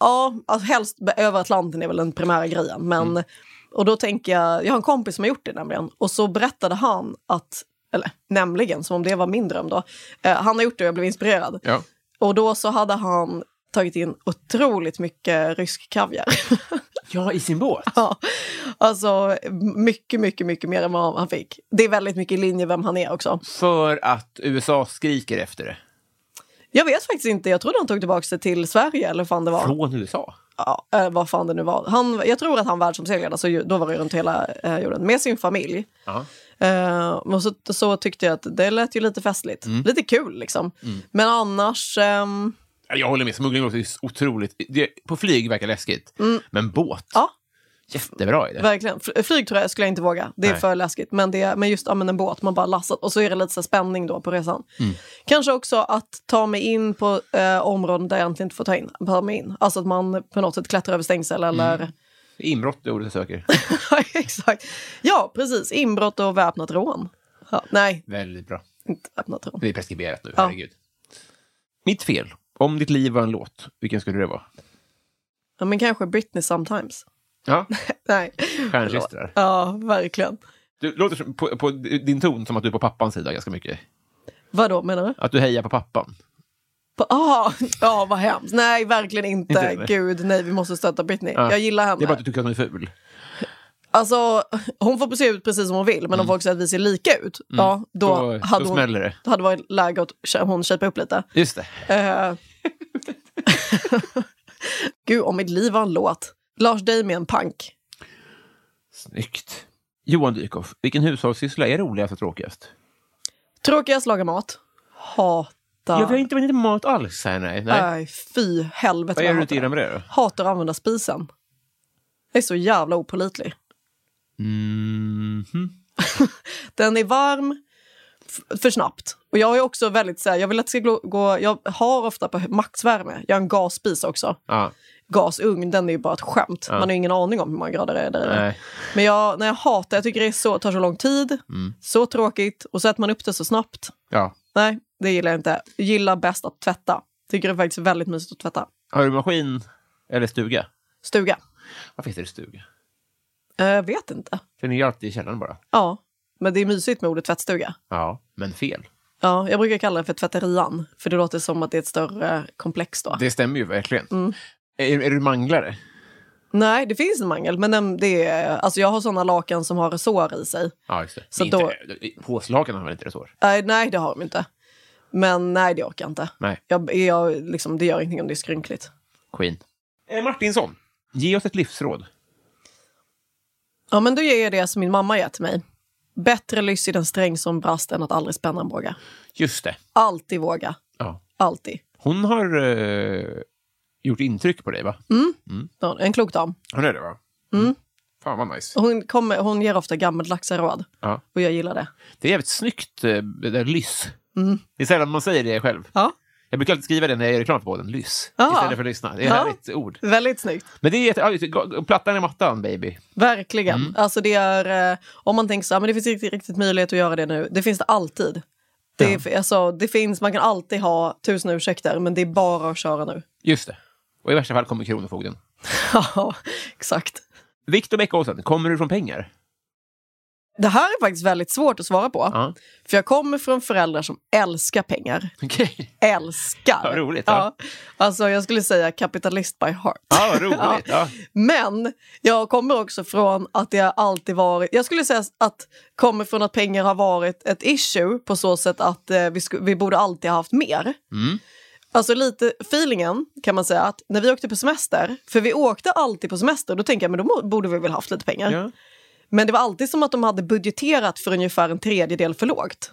Speaker 2: Ja, alltså helst be- över Atlanten är väl den primära grejen. Men,
Speaker 1: Mm.
Speaker 2: Och då tänker jag, jag har en kompis som har gjort det nämligen. Och så berättade han att, eller nämligen, som om det var min dröm då. Eh, han har gjort det och jag blev inspirerad.
Speaker 1: Ja.
Speaker 2: Och då så hade han tagit in otroligt mycket rysk kaviar.
Speaker 1: Ja, i sin båt?
Speaker 2: Ja, alltså mycket, mycket, mycket mer än vad han fick. Det är väldigt mycket i linje vem han är också.
Speaker 1: För att USA skriker efter det.
Speaker 2: Jag vet faktiskt inte, jag trodde han tog tillbaka det till Sverige eller vad fan det var.
Speaker 1: Från USA?
Speaker 2: ja, eh, vad fan det nu var. Han, jag tror att han världsomseglade, så ju- då var det runt hela eh, jorden, med sin familj.
Speaker 1: Ja.
Speaker 2: Eh, och så, så tyckte jag att det lät ju lite festligt.
Speaker 1: Mm.
Speaker 2: Lite kul liksom. Men annars... ehm,
Speaker 1: Ja, Jag håller med, smuggling låter ju otroligt... Det, på flyg verkar läskigt, men båt?
Speaker 2: Mm. Ja.
Speaker 1: Jättebra idé.
Speaker 2: Verkligen. Fl- Flyg tror jag skulle jag inte våga. Det är
Speaker 1: Nej.
Speaker 2: för läskigt. Men, det, men just ja, men en båt, man bara lassat. Och så är det lite så här spänning då på resan.
Speaker 1: Mm.
Speaker 2: Kanske också att ta mig in på eh, områden där jag egentligen inte får ta in, ta mig in. Alltså att man på något sätt klättrar över stängsel eller...
Speaker 1: Mm. Inbrott är ordet jag söker.
Speaker 2: Ja, Exakt. Ja, precis. Inbrott och väpnat rån. Ja, nej,
Speaker 1: Väldigt bra.
Speaker 2: inte väpnat rån.
Speaker 1: Det är preskriberat nu,
Speaker 2: Ja.
Speaker 1: herregud. Mitt fel. Om ditt liv var en låt, vilken skulle det vara?
Speaker 2: Ja, men kanske Britney sometimes.
Speaker 1: Ja,
Speaker 2: Nej.
Speaker 1: stjärnrystrar.
Speaker 2: Ja, verkligen.
Speaker 1: Du låter som, på, på din ton som att du är på pappans sida ganska mycket.
Speaker 2: Vad då menar du?
Speaker 1: Att du hejar på pappan.
Speaker 2: På- Ah, ja, vad hemskt. Nej, verkligen inte.
Speaker 1: Inte det?
Speaker 2: Gud, nej, vi måste stötta Britney.
Speaker 1: Ja.
Speaker 2: Jag gillar
Speaker 1: Det är
Speaker 2: henne.
Speaker 1: bara att du tycker att hon är ful.
Speaker 2: Alltså, hon får se ut precis som hon vill, men om folk säger att vi ser lika ut, ja, då,
Speaker 1: Mm. Då- då
Speaker 2: hade hon,
Speaker 1: smäller det.
Speaker 2: då hade varit läge att sh- hon shapea upp lite.
Speaker 1: Just det.
Speaker 2: Eh. Gud, om mitt liv var en låt. Lars Damien, punk.
Speaker 1: Snyggt. Johan Dykhoff, vilken hushållssyssla är roligast och tråkigast?
Speaker 2: Tråkigast laga mat. Hatar.
Speaker 1: Ja, vi har inte varit inne på mat alls här, nej. nej.
Speaker 2: Nej, Äh, fy helvete.
Speaker 1: Vad
Speaker 2: jag
Speaker 1: gör du
Speaker 2: hatar
Speaker 1: till innan med det då?
Speaker 2: Hatar att använda spisen. Jag är så jävla opolitlig.
Speaker 1: Mhm.
Speaker 2: Den är varm f- för snabbt. Och jag är också väldigt så här, jag vill att det ska gå- gå, jag har ofta på maxvärme. Jag har en gasspis också.
Speaker 1: Ja,
Speaker 2: Gasugn, den är ju bara ett skämt. Man har ju ingen aning om hur många grader det är där inne.
Speaker 1: nej.
Speaker 2: Men jag, när jag hatar, jag tycker det är så, tar så lång tid,
Speaker 1: Mm.
Speaker 2: så tråkigt och så äter man upp det så snabbt.
Speaker 1: Ja.
Speaker 2: Nej, det gillar jag inte. Jag gillar bäst att tvätta. Tycker det är faktiskt väldigt mysigt att tvätta.
Speaker 1: Har du maskin eller stuga?
Speaker 2: Stuga.
Speaker 1: Vad finns det i stuga?
Speaker 2: Jag vet inte.
Speaker 1: Den är ju alltid i källaren bara.
Speaker 2: Ja, men det är mysigt med ordet tvättstuga.
Speaker 1: Ja, men fel.
Speaker 2: Ja, jag brukar kalla det för tvätterian, för det låter som att det är ett större komplex då.
Speaker 1: Det stämmer ju verkligen.
Speaker 2: Mm.
Speaker 1: Är, är du manglare?
Speaker 2: Nej, det finns en mangel, men den, det är, alltså jag har såna lakan som har resår i sig.
Speaker 1: Ja, just det.
Speaker 2: Så
Speaker 1: inte,
Speaker 2: då-
Speaker 1: Påslakan har väl inte resår?
Speaker 2: Nej, nej, det har de inte. Men nej, det orkar jag inte.
Speaker 1: Nej.
Speaker 2: Jag, jag, liksom, det gör ingenting om det är skrynkligt.
Speaker 1: Queen. Eh, Martinsson, ge oss ett livsråd.
Speaker 2: Ja, men då ger jag det som min mamma gett mig. Bättre lyss i den sträng som brast än att aldrig spänna en båge.
Speaker 1: Just det.
Speaker 2: Alltid våga.
Speaker 1: Ja.
Speaker 2: Alltid.
Speaker 1: Hon har eh, gjort intryck på dig, va?
Speaker 2: Mm. En klok dam.
Speaker 1: Hon är det, va? Mm. Fan, vad nice.
Speaker 2: Hon, kommer, hon ger ofta gammaldags råd
Speaker 1: Ja.
Speaker 2: och jag gillar det.
Speaker 1: Det är jävligt snyggt, eh, det där lyss.
Speaker 2: Mm.
Speaker 1: Det är sällan man säger det själv.
Speaker 2: Ja.
Speaker 1: Jag brukar alltid skriva det när jag gör reklam på den, lyss.
Speaker 2: Aha.
Speaker 1: Istället för lyssna. Det är ett
Speaker 2: Ah. Ja.
Speaker 1: härligt ord.
Speaker 2: Väldigt snyggt.
Speaker 1: Men det är jätte... ja, just det. Ga- Plattan i mattan, baby.
Speaker 2: Verkligen.
Speaker 1: Mm.
Speaker 2: Alltså det är, eh, om man tänker så här, men det finns inte riktigt möjlighet att göra det nu. Det finns det alltid. Det, är- alltså, det finns, man kan alltid ha tusen ursäkter, men det är bara att köra nu.
Speaker 1: Just det. Och i värsta fall kommer Kronofogden.
Speaker 2: Ja, exakt.
Speaker 1: Viktor Bäck Olsen, kommer du från pengar?
Speaker 2: Det här är faktiskt väldigt svårt att svara på.
Speaker 1: Ja.
Speaker 2: För jag kommer från föräldrar som älskar pengar.
Speaker 1: Okej.
Speaker 2: Älskar!
Speaker 1: Ja, roligt, ja.
Speaker 2: Alltså jag skulle säga kapitalist by heart.
Speaker 1: Ja, vad roligt. Ja.
Speaker 2: Men jag kommer också från att det har alltid varit... Jag skulle säga att kommer från att pengar har varit ett issue på så sätt att eh, vi, sku, vi borde alltid ha haft mer.
Speaker 1: Mm.
Speaker 2: Alltså lite feelingen kan man säga att när vi åkte på semester, för vi åkte alltid på semester, då tänker jag men då må- borde vi väl haft lite pengar.
Speaker 1: Ja.
Speaker 2: Men det var alltid som att de hade budgeterat för ungefär en tredjedel för lågt.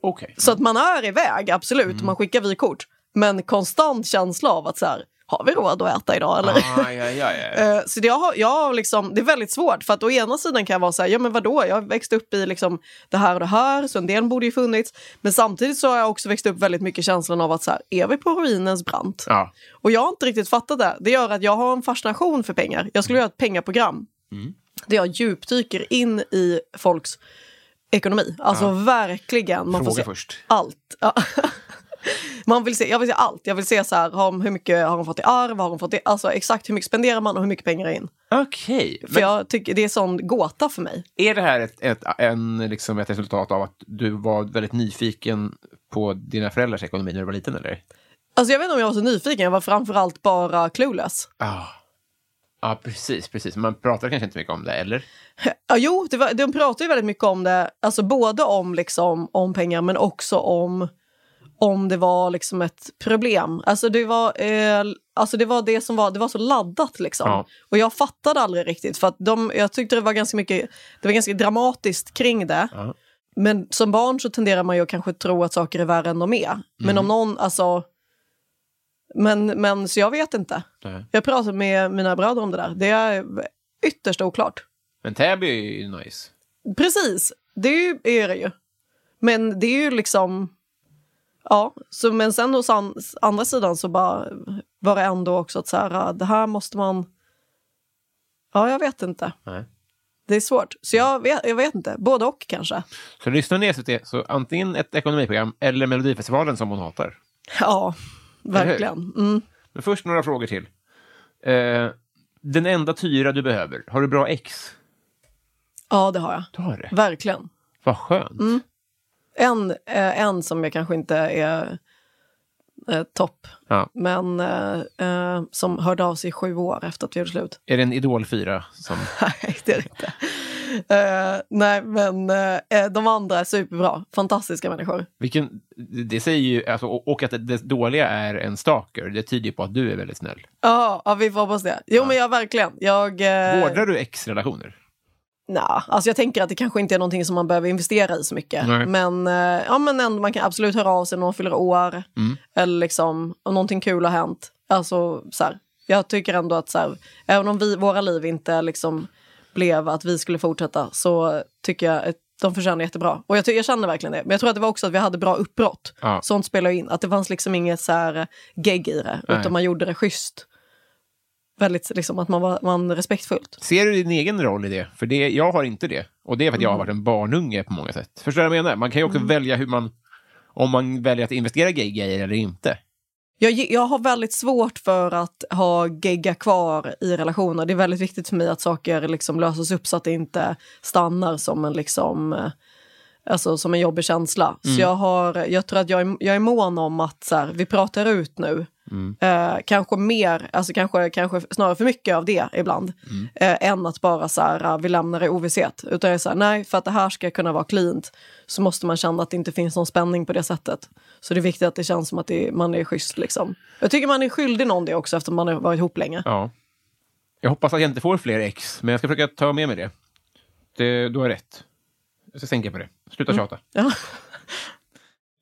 Speaker 1: Okej. Mm.
Speaker 2: Så att man är iväg, absolut, man skickar vykort. Men konstant känsla av att så här, har vi råd att äta idag eller?
Speaker 1: Ah, ja, ja, ja.
Speaker 2: Eh, Så det, jag har, jag har liksom, det är väldigt svårt, för att å ena sidan kan jag vara så här, ja men vadå, jag växte upp i liksom det här och det här, så en del borde ju funnits. Men samtidigt så har jag också växt upp väldigt mycket känslan av att så här, är vi på ruinens brant?
Speaker 1: ja.
Speaker 2: Och jag har inte riktigt fattat det. Det gör att jag har en fascination för pengar. Jag skulle
Speaker 1: Mm.
Speaker 2: göra ett pengaprogram där jag djupdyker in i folks ekonomi. Alltså verkligen. Man får
Speaker 1: Fråga
Speaker 2: se
Speaker 1: först.
Speaker 2: allt. Ja. Man vill se, jag vill se allt. Jag vill se så här, har de, hur mycket har de fått i arv? Har de fått i, alltså exakt hur mycket spenderar man och hur mycket pengar är in?
Speaker 1: Okej.
Speaker 2: För
Speaker 1: Men
Speaker 2: jag tycker det är sån gåta för mig.
Speaker 1: är det här ett, ett, en, liksom ett resultat av att du var väldigt nyfiken på dina föräldrars ekonomi när du var liten, eller?
Speaker 2: Alltså jag vet inte om jag var så nyfiken, jag var framförallt bara clueless.
Speaker 1: Ja. Ja, precis, precis. Man pratar kanske inte mycket om det, eller?
Speaker 2: Ja, jo, det var, de pratar ju väldigt mycket om det, alltså både om, liksom, om pengar men också om om det var liksom ett problem. Alltså det var, eh, alltså det, var det som var, det var så laddat liksom.
Speaker 1: Ja.
Speaker 2: Och jag fattade aldrig riktigt för att de, jag tyckte det var ganska mycket, det var ganska dramatiskt kring det.
Speaker 1: Ja.
Speaker 2: Men som barn så tenderar man ju att kanske tro att saker är värre än de är. Men
Speaker 1: Mm.
Speaker 2: om någon, alltså, men, men så jag vet inte.
Speaker 1: Nej.
Speaker 2: Jag pratade med mina bröder om det där. Det är ytterst oklart.
Speaker 1: Men Täby är ju nice.
Speaker 2: Precis, det är ju- är det ju. Men det är ju liksom... Ja, så, men sen hos an, andra sidan så bara var det ändå också att så här, "Ah, det här måste man... Ja, jag vet inte.
Speaker 1: Nej.
Speaker 2: Det är svårt. Så jag vet, jag vet inte. Både och kanske.
Speaker 1: Så lyssna ni SVT, så antingen ett ekonomiprogram eller Melodifestivalen som hon hatar.
Speaker 2: Ja, verkligen. Mm.
Speaker 1: Men först några frågor till. Eh, den enda tyra du behöver, har du bra ex?
Speaker 2: Ja, det har jag.
Speaker 1: Du har det.
Speaker 2: Verkligen.
Speaker 1: Vad skönt.
Speaker 2: En, eh, en som jag kanske inte är eh, topp,
Speaker 1: Ja.
Speaker 2: men eh, eh, som hörde av sig sju år efter att vi gjorde slut.
Speaker 1: Är det en Idol 4? Som...
Speaker 2: Nej, det är det inte. Eh, nej, men eh, de andra är superbra. Fantastiska människor.
Speaker 1: Vilken, det säger ju, alltså, och och att det, det dåliga är en stalker, det tyder ju på att du är väldigt snäll.
Speaker 2: Ja, ja, vi får hoppas det. Jo, men jag verkligen. Jag, eh,
Speaker 1: Vårdar du ex-relationer?
Speaker 2: nja, alltså jag tänker att det kanske inte är någonting som man behöver investera i så mycket.
Speaker 1: Nej.
Speaker 2: Men, eh, ja, men ändå, man kan absolut höra av sig när man fyller år.
Speaker 1: Mm.
Speaker 2: Eller liksom, om någonting kul har hänt. Alltså, så här, jag tycker ändå att så här, även om vi, våra liv inte liksom blev att vi skulle fortsätta så tycker jag att de förtjänar jättebra. Och jag, ty- jag känner verkligen det. Men jag tror att det var också att vi hade bra uppbrott.
Speaker 1: Ja.
Speaker 2: Sånt spelar ju in. Att det fanns liksom inget så här gegg i det.
Speaker 1: Nej.
Speaker 2: Utan man gjorde det schysst. Väldigt liksom att man var man respektfullt.
Speaker 1: Ser du din egen roll i det? För det, jag har inte det. Och det är för att jag har varit en barnunge på många sätt. Förstår du vad jag menar? Man kan ju också välja hur man, om man väljer att investera i grejer eller inte.
Speaker 2: Jag, ge- jag har väldigt svårt för att ha gegga kvar i relationer. Det är väldigt viktigt för mig att saker liksom löses upp så att det inte stannar som en, liksom, eh, alltså, som en jobbig känsla. Så jag, har, jag tror att jag är, jag är mån om att så här, vi pratar ut nu. Eh, kanske mer, alltså kanske, kanske snarare för mycket av det ibland. Eh, än att bara så här, ah, vi lämnar det i ovisshet. Utan jag är så här, nej, för att det här ska kunna vara cleant så måste man känna att det inte finns någon spänning på det sättet. Så det är viktigt att det känns som att det, är- man är schysst liksom. Jag tycker man är skyldig någon det också efter man har varit ihop länge.
Speaker 1: Ja. Jag hoppas att jag inte får fler ex, men jag ska försöka ta med mig det. det du har rätt. Jag ska tänka på det. Sluta tjata.
Speaker 2: Mm. Ja.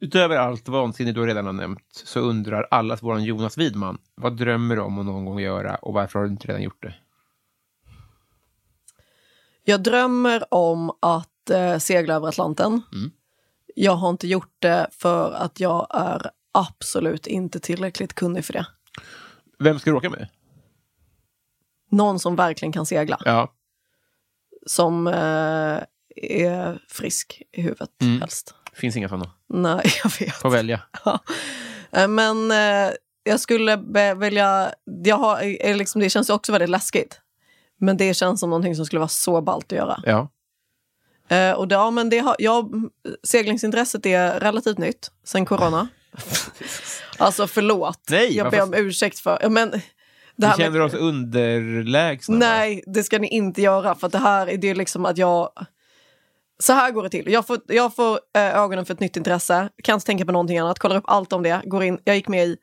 Speaker 1: Utöver allt vansinne du redan har nämnt så undrar allas vår Jonas Widman, vad drömmer du om att någon gång göra och varför har du inte redan gjort det?
Speaker 2: Jag drömmer om att eh, segla över Atlanten. Jag har inte gjort det för att jag är absolut inte tillräckligt kunnig för det.
Speaker 1: Vem ska du åka med?
Speaker 2: Någon som verkligen kan segla,
Speaker 1: Ja.
Speaker 2: som eh, är frisk i huvudet helst.
Speaker 1: Finns inga sådana.
Speaker 2: Nej, jag vet.
Speaker 1: Får välja.
Speaker 2: Eh, Men eh, jag skulle be- välja... Jag har, eh, liksom, det känns ju också väldigt läskigt. Men det känns som någonting som skulle vara så ballt att göra.
Speaker 1: Ja.
Speaker 2: Eh, och det, ja, men det har, ja, mm, seglingsintresset är relativt nytt sen corona. alltså förlåt.
Speaker 1: Nej,
Speaker 2: jag ber om
Speaker 1: varför-
Speaker 2: ursäkt för... Ja, men, det
Speaker 1: Vi
Speaker 2: här
Speaker 1: känner
Speaker 2: med,
Speaker 1: oss underlägsna. va?
Speaker 2: nej, det ska ni inte göra. För att det här är det är liksom att jag... Så här går det till. Jag får, jag får eh, ögonen för ett nytt intresse, kan inte tänka på någonting annat, kollar upp allt om det. Går in, jag gick med i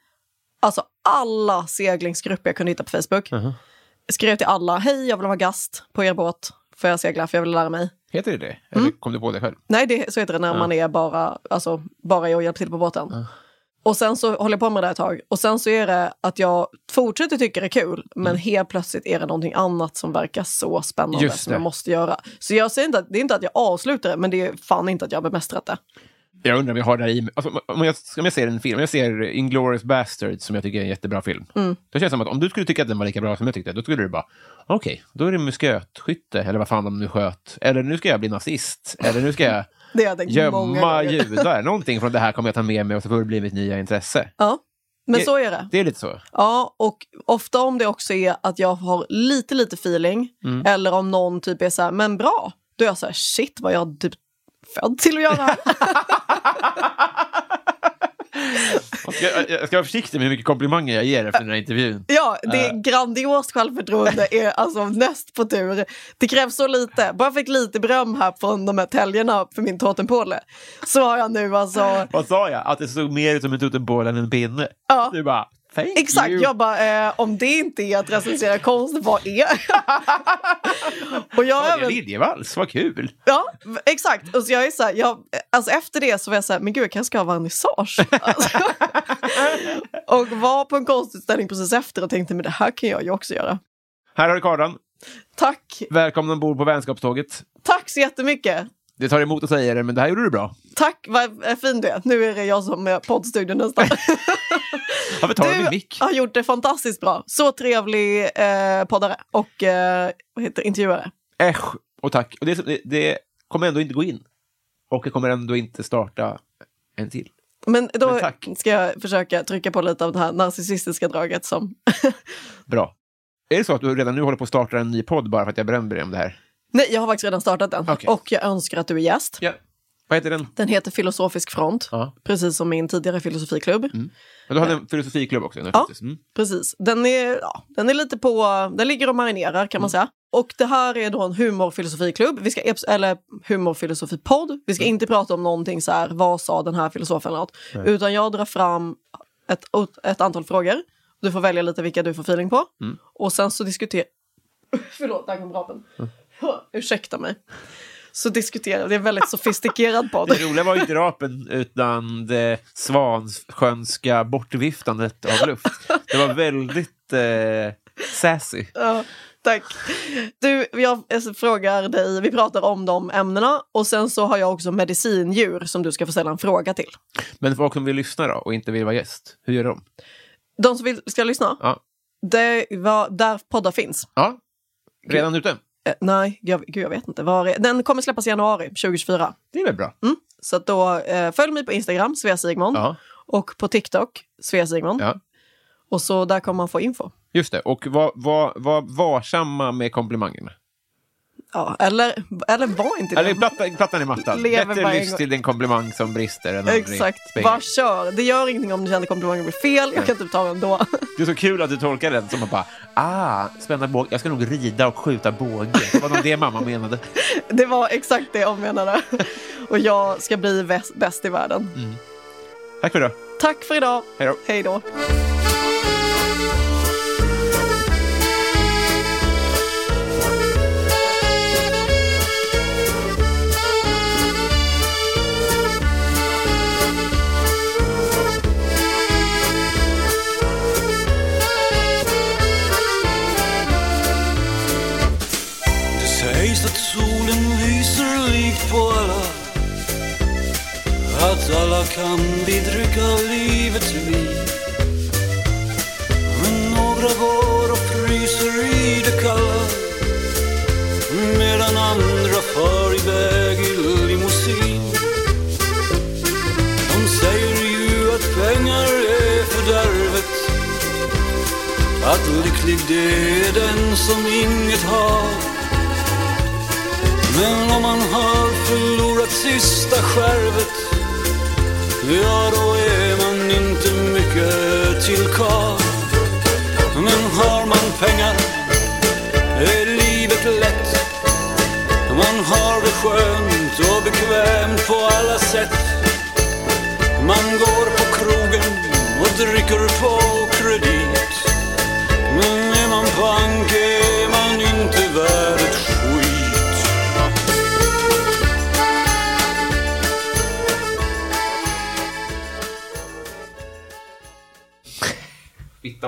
Speaker 2: alltså, alla seglingsgrupper jag kunde hitta på Facebook.
Speaker 1: Uh-huh.
Speaker 2: Skrev till alla, hej jag vill vara gast på er båt, får jag segla för jag vill lära mig.
Speaker 1: Heter det
Speaker 2: Mm.
Speaker 1: det? Eller kom du på det själv?
Speaker 2: Nej, det, så heter det när man är bara, alltså, bara jag och hjälper till på båten. Och sen så håller jag på med det här ett tag och sen så är det att jag fortsätter tycka det är kul men
Speaker 1: Mm.
Speaker 2: helt plötsligt är det någonting annat som verkar så spännande
Speaker 1: Just
Speaker 2: som
Speaker 1: det.
Speaker 2: jag måste göra. Så jag säger inte att, det är inte att jag avslutar det men det är fan inte att jag har bemästrat det.
Speaker 1: Jag undrar om jag har det här i mig. Alltså, om, jag, om jag ser en film, om jag ser Inglourious Basterds som jag tycker är en jättebra film.
Speaker 2: Mm.
Speaker 1: Då känns det som att om du skulle tycka att den var lika bra som jag tyckte, då skulle du bara, okej, då är det muskötskytte, eller vad fan de nu sköt. Eller nu ska jag bli nazist. Eller nu ska jag
Speaker 2: Det har jag tänkt många
Speaker 1: gömma
Speaker 2: gånger.
Speaker 1: judar. Någonting från det här kommer jag ta med mig och så får det bli mitt nya intresse.
Speaker 2: Ja, men så är det.
Speaker 1: Det är lite så.
Speaker 2: Ja, och ofta om det också är att jag har lite, lite feeling
Speaker 1: Mm.
Speaker 2: eller om någon typ är så här, men bra, då är jag så här, shit vad jag typ född till att göra det här.
Speaker 1: Jag ska, jag- jag ska vara försiktig med hur mycket komplimanger jag ger efter den här intervjun.
Speaker 2: Ja, det är grandiost självförtroende är alltså näst på tur. Det krävs så lite. Bara fick lite beröm här från de här täljerna för min tårtenpåle. Så har jag nu alltså...
Speaker 1: Vad sa jag? Att det såg mer ut som en tuttenbål än en pinne.
Speaker 2: Ja.
Speaker 1: Du bara, thank
Speaker 2: Exakt,
Speaker 1: you.
Speaker 2: jag bara, eh, om det inte är att recensera konst, vad är Och jag
Speaker 1: Daniel
Speaker 2: även,
Speaker 1: Liljevalchs, vad kul!
Speaker 2: Ja, v- exakt. Och så jag är så här, jag, alltså efter det så var jag så här, men gud jag kanske ska ha vernissage. Alltså. och var på en konstutställning precis efter och tänkte, men det här kan jag ju också göra.
Speaker 1: Här har du kardan.
Speaker 2: Tack,
Speaker 1: Välkommen ombord på vänskapståget.
Speaker 2: tack så jättemycket.
Speaker 1: Det tar emot att säga det, men det här gjorde du bra.
Speaker 2: Tack, vad eh, fin du är. Nu är det jag som är poddstudion nästan.
Speaker 1: Varför tar du min mick?
Speaker 2: har gjort det fantastiskt bra. Så trevlig eh, poddare och eh, vad heter, det? intervjuare.
Speaker 1: Äsch, och tack. Och det, är så- det, det kommer ändå inte gå in. Och det kommer ändå inte starta en till.
Speaker 2: Men då
Speaker 1: Men tack.
Speaker 2: ska jag försöka trycka på lite av det här narcissistiska draget som...
Speaker 1: Bra. Är det så att du redan nu håller på att starta en ny podd bara för att jag berömde dig om det här?
Speaker 2: Nej, jag har faktiskt redan startat den.
Speaker 1: Okej.
Speaker 2: Och jag önskar att du är gäst.
Speaker 1: Ja. Vad heter den?
Speaker 2: Den heter Filosofisk front,
Speaker 1: Ja. Mm.
Speaker 2: precis som min tidigare filosofiklubb.
Speaker 1: Men du hade en filosofiklubb också? nu,
Speaker 2: Ja.
Speaker 1: faktiskt. Mm.
Speaker 2: Precis. Den är, ja, den är lite på... Den ligger och marinerar
Speaker 1: Mm.
Speaker 2: kan man säga. Och det här är då en humorfilosofiklubb, vi ska, eps- eller humorfilosofipodd. Vi ska
Speaker 1: Mm.
Speaker 2: inte prata om någonting så här, vad sa den här filosofen eller något. Utan jag drar fram ett, ett antal frågor. Du får välja lite vilka du får feeling på.
Speaker 1: Mm.
Speaker 2: Och sen så diskuterar... Förlåt, där kom rapen.
Speaker 1: Mm.
Speaker 2: Ursäkta mig. Så diskuterar, det är en väldigt sofistikerad podd.
Speaker 1: Det roliga var ju inte rapen, utan det svanskönska bortviftandet av luft. Det var väldigt eh, sassy.
Speaker 2: Ja, tack. Du, jag frågar dig, vi pratar om de ämnena och sen så har jag också medicindjur som du ska få ställa en fråga till.
Speaker 1: Men folk som vill lyssna då och inte vill vara gäst, hur gör de?
Speaker 2: De som vill, ska lyssna,
Speaker 1: Ja.
Speaker 2: det var där poddar finns.
Speaker 1: Ja, redan ute.
Speaker 2: Eh, nej, jag, gud, jag vet inte. Var är, den kommer släppas i januari 2024.
Speaker 1: Det är väl bra?
Speaker 2: Så att då, eh, följ mig på Instagram, Svea Sigmund,
Speaker 1: Ja,
Speaker 2: och på TikTok, Svea Sigmund.
Speaker 1: ja.
Speaker 2: Och så där kommer man få info.
Speaker 1: Just det, och var, var, var varsamma med komplimangerna.
Speaker 2: Ja, eller, eller var inte det.
Speaker 1: Eller platta, plattan i mattan.
Speaker 2: Lever
Speaker 1: Bättre
Speaker 2: varje
Speaker 1: lyss
Speaker 2: gång.
Speaker 1: till din komplimang som brister än aldrig
Speaker 2: Exakt,
Speaker 1: spegel.
Speaker 2: bara kör. Det gör ingenting om du känner komplimangen blir fel. Jag kan typ ta den då.
Speaker 1: Det är så kul att du tolkar den som att bara ah, spänna båge. Jag ska nog rida och skjuta båge. Det var nog det mamma menade.
Speaker 2: Det var exakt det jag menade. Och jag ska bli väst- bäst i världen.
Speaker 1: Tack för idag.
Speaker 2: Tack för idag.
Speaker 1: Hej då.
Speaker 2: Hej då.
Speaker 6: Det sägs att solen lyser likt på alla Att alla kan bedrygga livet vid Men några går och fryser i det kalla Medan andra far iväg i limousin De säger ju att pengar är fördärvet Att lycklig det är den som inget har men om man har förlorat sista skärvet Ja, då är man inte mycket till karl Men har man pengar är livet lätt Man har det skönt och bekvämt på alla sätt Man går på krogen och dricker på kredit Men är man pank är man inte värd ett skit
Speaker 1: Fitta